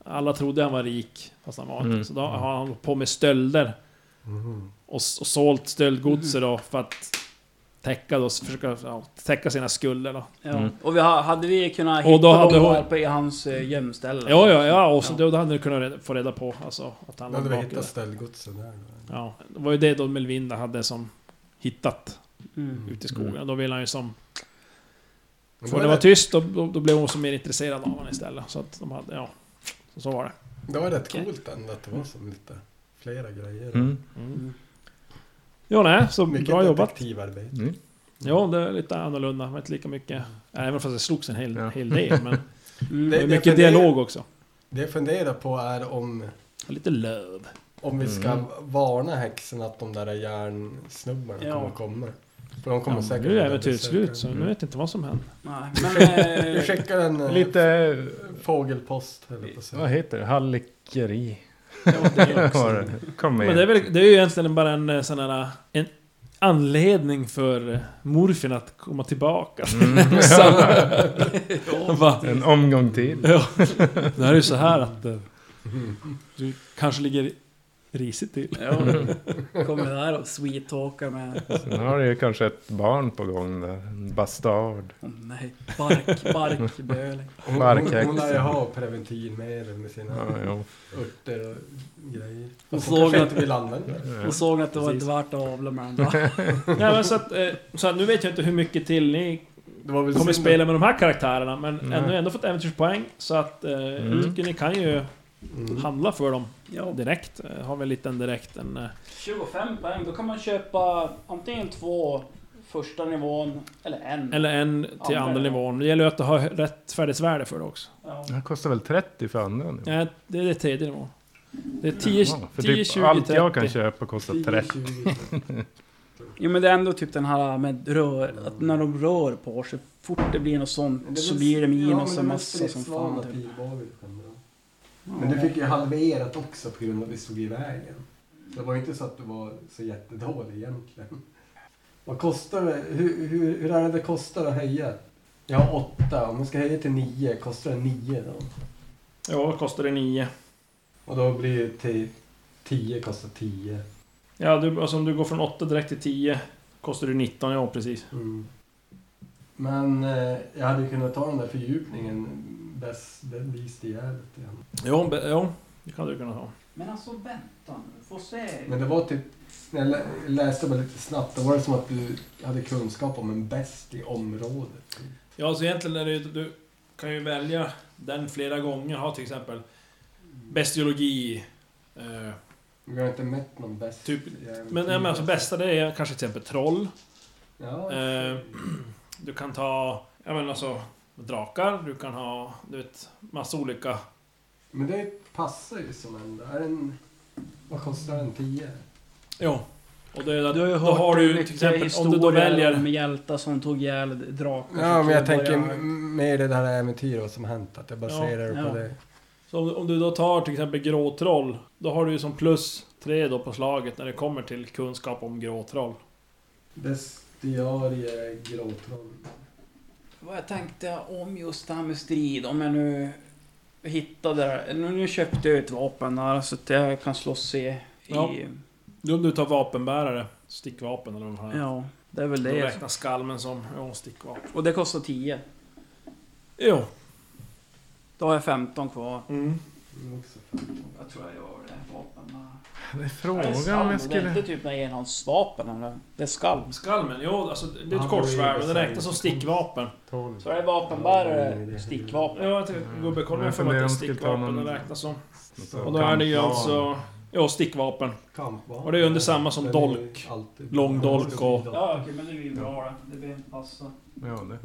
Alla trodde han var rik, fast han var inte. Mm. Så då har han hållit på med stölder. och, s- och sålt stöldgodset då för att täcka, då, försöka, ja, täcka sina skulder då. Ja. Mm. Och vi har, hade vi kunnat Och då hitta hade dem hon- här på i hans eh, gömställe? Ja, ja, ja, och så, Ja. då hade ni kunnat reda, få reda på alltså, att han Då låg hade vi bak i hittat det. stöldgodset där. Ja, det var ju det då Melvinda hade som hittat Mm. ute i skogen. Då ville han ju som... Men För då det är var det- tyst, då, då, då blev hon som mer intresserad av honom istället. Så att de hade, ja. Så, så var det. Det var rätt Okej. coolt ändå att det var som lite flera grejer. Mm. Mm. Jo, nej, så Mycket bra jobbat. detektivarbete. Mm. Jo, det är lite annorlunda. Det var inte lika mycket... Även fast det slogs en hel, Ja. hel del, men... Mm. Det var det mycket funderar- dialog också. Det jag funderar på är om, Och lite löv. om vi ska Mm. varna häxen att de där järnsnubbarna Ja. kommer komma. För de kommer Ja, säkert... nu är vilja äventyret besöka slut, så den. nu vet jag inte vad som händer. Nej, men... Vi eh, skickar en eh, Lite, fågelpost. höll jag på att säga. vad heter det, hallikeri? ja, det är Var också- det? Kom igen. Men det är, väl, det är ju egentligen bara en eh, sån här... En anledning för eh, morfin att komma tillbaka. Sen, Ja. han bara, Mm. En omgång till. ja, det här är ju så här att... eh, Du kanske ligger risigt till. Ja. Kommer där och sweet-talka med... Sen har du ju kanske ett barn på gång där. En bastard. Åh, nej, bark, barkböling. Hon, hon, hon Barkhäxan. lär ju ha preventivmedel med sina Ja, jo. örter och grejer. Hon Fast hon såg kanske att- inte vill använda det. Och såg att det var Precis. inte värt att avla med den där. Nej, men så att, eh, så att nu vet jag inte hur mycket till ni Det var väl kommer synd- spela med de här karaktärerna, men Nej. ändå, jag har ändå fått äventyrspoäng. Så att eh, jag tycker ni kan ju Mm. handla för dem Ja. direkt. Eh, Har väl lite en direkt en... eh, 25 poäng, då kan man köpa antingen två första nivån, eller en. Eller en till Andra andra nivån. nivån. Det gäller ju att ha rätt färdighetsvärde för det också. Ja. Det här kostar väl 30 för andra nu? Nej, det är det tredje nivån. Det är 10, Ja, för 10 typ 20, allt 30. jag kan köpa kostar 30. 10-20. Jo men det är ändå typ den här med rör, att när de rör på sig, fort det blir något sånt Men så väl- blir det ja, men minus och är väl massa som stridsvana fan. Typ. pilbågar vi kan dra. Men du fick ju halverat också på grund av att vi stod i vägen. Det var ju inte så att du var så jättedålig egentligen. Vad kostar det? Hur, hur, hur är det det kostar att höja? Jag har åtta, om man ska höja till nio, kostar det nio då? Ja, kostar det 9. Och då blir det till tio, kostar tio. Ja, du, alltså om du går från 8 direkt till 10 kostar det 19, ja precis. Mm. Men eh, jag hade ju kunnat ta den där fördjupningen bäst, den visste jävligt igen. Jo, be, jo, det kan du kunna ha. Men alltså vänta nu, få se. Men det var typ, när jag lä- läste bara lite snabbt, då var det som att du hade kunskap om en bäst i området. Ja, så egentligen är det ju- du kan ju välja den flera gånger. Ha till exempel bestiologi. Eh, Vi har inte mätt någon bäst. Typ- jävel. men, ja, men alltså bästa det är kanske till exempel troll. Ja, Eh, du kan ta, ja men alltså drakar, du kan ha, du vet, massa olika. men det passar ju som ändå. Är den, vad kostar den? 10? Jo. Och det, är- då har du till exempel, om du då väljer... med hjältar som tog ihjäl drakar. Ja, som men jag kunde tänker börja- m- mer det där äventyret som hänt. Att jag baserar det Ja, på ja. det. Så om, om du då tar till exempel gråtroll, då har du ju som plus tre då på slaget när det kommer till kunskap om gråtroll. Bestiarie gråtroll. Vad jag tänkte om just det här med strid, om jag nu hittade det här. Nu, nu köpte jag ett vapen där så att jag kan slåss i... i Ja. Nu om du tar vapenbärare, stickvapen eller vad fan. Ja, det är väl Då det. räknas skalmen som ja, stickvapen. Och det kostar 10. Jo. Då har jag 15 kvar. Mm. Jag tror jag gör det. Vapen Det är Det är frågan om skalm, jag det är inte skulle... typ med enhandsvapen eller? Det är skalm. Skalmen, jo alltså det är Ja, ett kortsvärd och det är det räknas som stickvapen. Så är det vapenbärare, stickvapen. Ja, jag tänkte gå och kolla Mm. Jag för mig att funderar det är om jag skulle ta stickvapen någon- det räknas som. Ja, Och då är det ju alltså... Ja, stickvapen. Kampvapen. Och det är under samma som Den är ju dolk. alltid- Lång dolk och- Ja, okej, men det blir bra det. Det blir passa. Ja, det...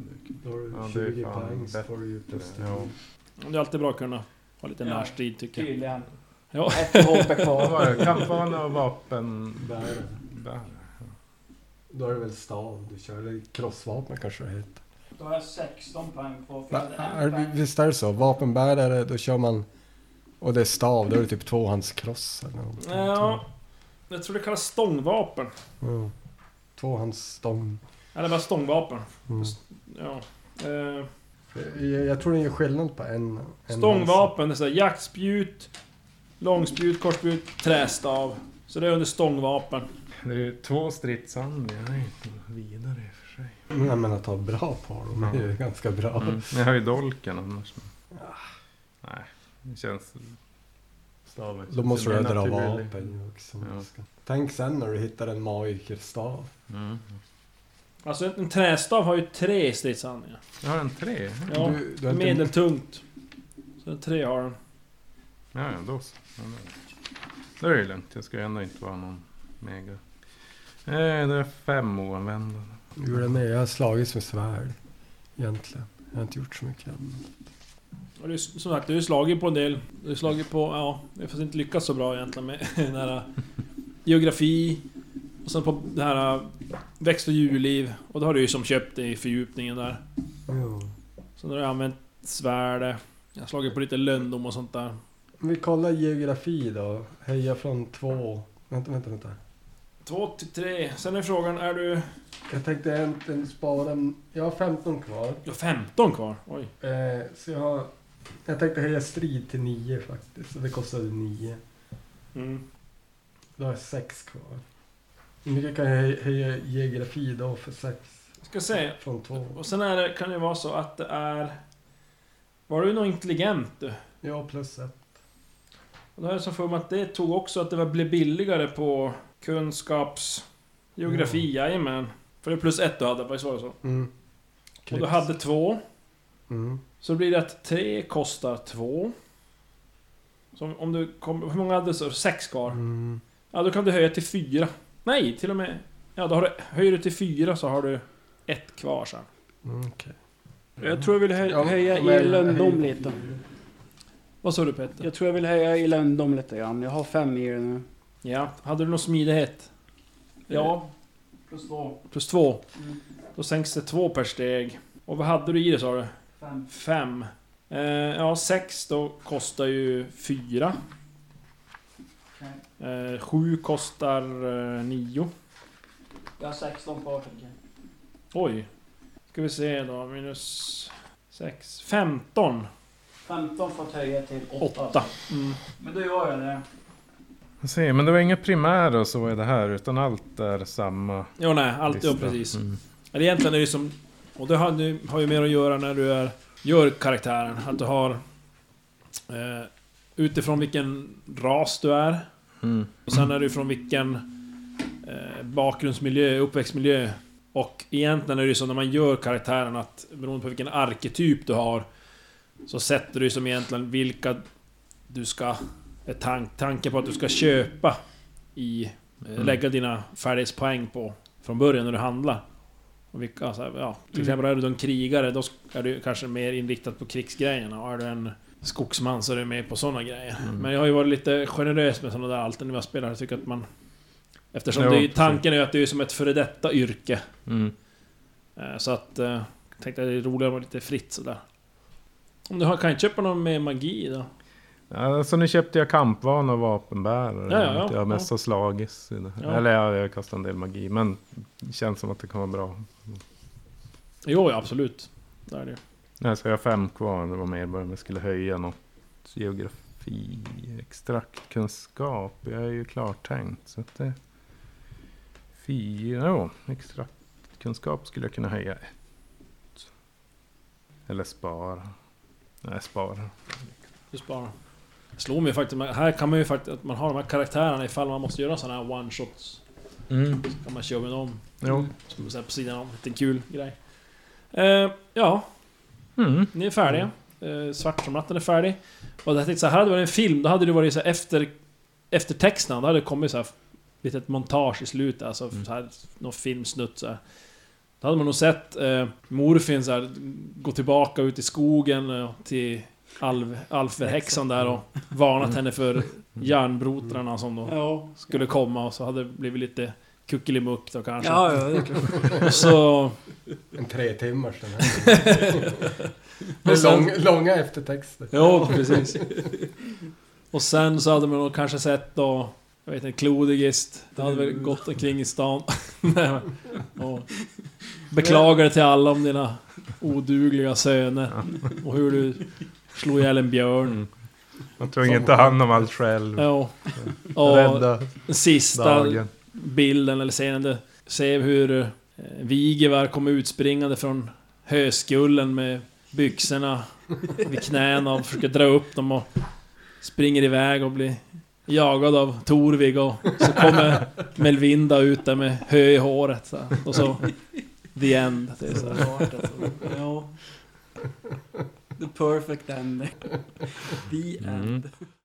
Då har du Ja, det är 20 fan poäng så bättre. får du ju plus Ja. tio. Det är alltid bra att kunna ha lite Ja. närstrid tycker jag. Tydligen. Ja. Ett HP Vad kvar. var det? Kampvana och vapen... Bär. Bär. Då är det väl stav du kör, eller krossvapen kanske det heter. Då har jag 16 poäng kvar. för jag Va- hade är en det- poäng. Visst är det så? Vapenbärare, då kör man... Och det är stav, då är det typ tvåhandskross eller någonting. Ja, jag tror det kallas stångvapen. Mm. Tvåhandsstång. Eller bara stångvapen. Mm. Ja. Eh, Jag, jag tror det är skillnad på en... en Stångvapen, det är så här, jaktspjut, långspjut, korsspjut, trästav. Så det är under stångvapen. Det är ju två stridshandlingar. Det är ju inte vidare i och för sig. Men Jag menar att ha bra på dem, det är ju ganska bra. Mm. Jag har ju dolken annars. men- Nej, det känns... Staven Då måste du mer dra naturlig. vapen också. Ja. Tänk sen när du hittar en magikerstav. Mm. Alltså en trästav har ju tre stridshandlingar. Jag har en tre. Ja, Du- du har inte- medeltungt. Så den tre har den. Ja, ja, då så. Ja, då- Då är det ju lugnt. Jag ska ju ändå inte vara någon mega... Eh, det är fem oanvända. Jo, den är, jag har slagits med svärd. Egentligen. Jag har inte gjort så mycket än. Och det är, som sagt, du har ju slagit på en del. Du har slagit på, ja, det har fast inte lyckats så bra egentligen med den här eh, geografi. Och sen på det här eh, växt och djurliv. Och då har du ju som köpt i fördjupningen där. Jo. Sen har du använt svärd. Jag har slagit på lite lönndom och sånt där. Om vi kollar geografi då. Höja från två... Vänta, vänta, vänta. Två till tre. Sen är frågan, är du... Jag tänkte egentligen spara... Jag har 15 kvar. Du har 15 kvar. Oj. Eh, så jag har... Jag tänkte höja strid till 9 faktiskt. Så det kostade 9. Mm. Då har jag 6 kvar. Hur mycket kan jag hö- höja geografi då för 6? Ska se. Från 2? Och sen är det, kan det vara så att det är... Var du nog intelligent du? Ja, plus 1. Och då har jag så för mig att det tog också att det var- blev billigare på kunskaps... Geografi, jajamän. För det är plus ett du hade, visst var det så? Mm. Och Krigs. du hade två. Mm. Så blir det att tre kostar två. Så om- om du kom, Hur många hade du? så? Sex kvar. Mm. Ja, då kan du höja till fyra. Nej, till och med... Ja, då har du, höjer du till fyra så har du ett kvar sen. Mm, okej. Jag tror jag vill Ja, hö- höja men- i lönndom lite. Vad sa du Petter? Jag tror jag vill höja i lönndom lite grann. Jag har fem i det nu. Ja, hade du någon smidighet? Ja. Plus två. Plus två. Mm. Då sänks det två per steg. Och vad hade du i det sa du? Fem. Fem. Eh, ja, sex då kostar ju fyra. Okej. Eh, sju kostar eh, nio. Jag har 16 kvar tänker jag. Oj. Ska vi se då, minus sex. Femton. 15 får jag höja till åtta. Åtta. Mm. Men då gör jag det. Jag ser, men det var inga primära och så i det här, utan allt är samma Jo, nej, allt är lista. precis. Mm. Eller egentligen är det ju som... Och det har, nu, har ju mer att göra när du är, gör karaktären. Att du har... Eh, utifrån vilken ras du är. Mm. Och sen är det ju från vilken eh, bakgrundsmiljö, uppväxtmiljö. Och egentligen är det ju så när man gör karaktären att beroende på vilken arketyp du har. Så sätter du ju som egentligen vilka du ska... eh, Tank, tanken på att du ska köpa i... eh, Mm. Lägga dina färdighetspoäng på från början när du handlar. Och vilka, så här, ja, Mm. till exempel är du en krigare, då är du kanske mer inriktad på krigsgrejerna. Och är du en skogsman så är du med på sådana grejer. Mm. Men jag har ju varit lite generös med sådana där alternativa spelare. Jag tycker att man... Eftersom Ja, det är, ju- precis. tanken är ju att det är som ett före detta yrke. Mm. Eh, Så att... eh, Jag tänkte att det är roligare att vara lite fritt sådär. Om du har, kan jag köpa någon med magi då? Ja, så nu köpte jag kampvan och vapenbärare. Ja, ja, ja. jag har mest har slagits. I det här. Ja. Eller ja, jag kastar en del magi, men det känns som att det kan vara bra. Jo, ja, absolut. Där är det ju. Nej, så jag har fem kvar. Det var mer bara om jag skulle höja något. Geografi, extraktkunskap. Jag är ju klartänkt. Så att det... Fyra, ja. Extra kunskap skulle jag kunna höja ett. Eller spara. Nej, spara. Du sparar. Det slår mig faktiskt, men här kan man ju faktiskt, att man har de här karaktärerna ifall man måste göra sådana här one-shots. Mm. Så kan man köra med dem. Jo. Så man säga på sidan om, lite kul grej. Eh, ja, Mm. ni är färdiga. Eh, svart som natten är färdig. Och jag tänkte så här, hade det varit en film, då hade det varit så här efter... Eftertexterna, då hade det kommit så här litet montage i slutet, alltså så här, någon filmsnutt så här. Då hade man nog sett eh, Morfin så här, gå tillbaka ut i skogen eh, till Alv, Alferhäxan där och varnat henne för järnbrotrarna som då Ja. skulle komma och så hade det blivit lite kuckelimuck då kanske. Ja, ja, det är klart. Så... En tre timmars den här. Och Med sen- lång, långa eftertexter. Ja, precis. Och sen så hade man nog kanske sett då, jag vet inte, Klodigist. Det hade väl gått omkring i stan. Nej, men- och beklagade till alla om dina odugliga söner. Och hur du slog ihjäl en björn. Mm. Man tog inte hand om allt själv. Ja. Och Rädda den sista dagen. bilden eller scenen där ser vi hur eh, Vigevar kommer utspringande från höskullen med byxorna vid knäna och försöker dra upp dem och springer iväg och blir jagad av Torvig och så kommer Melvinda ut där med hö i håret så här. och så the end. Det är så här. Klart, alltså. Ja. The perfect ending. The end. Mm.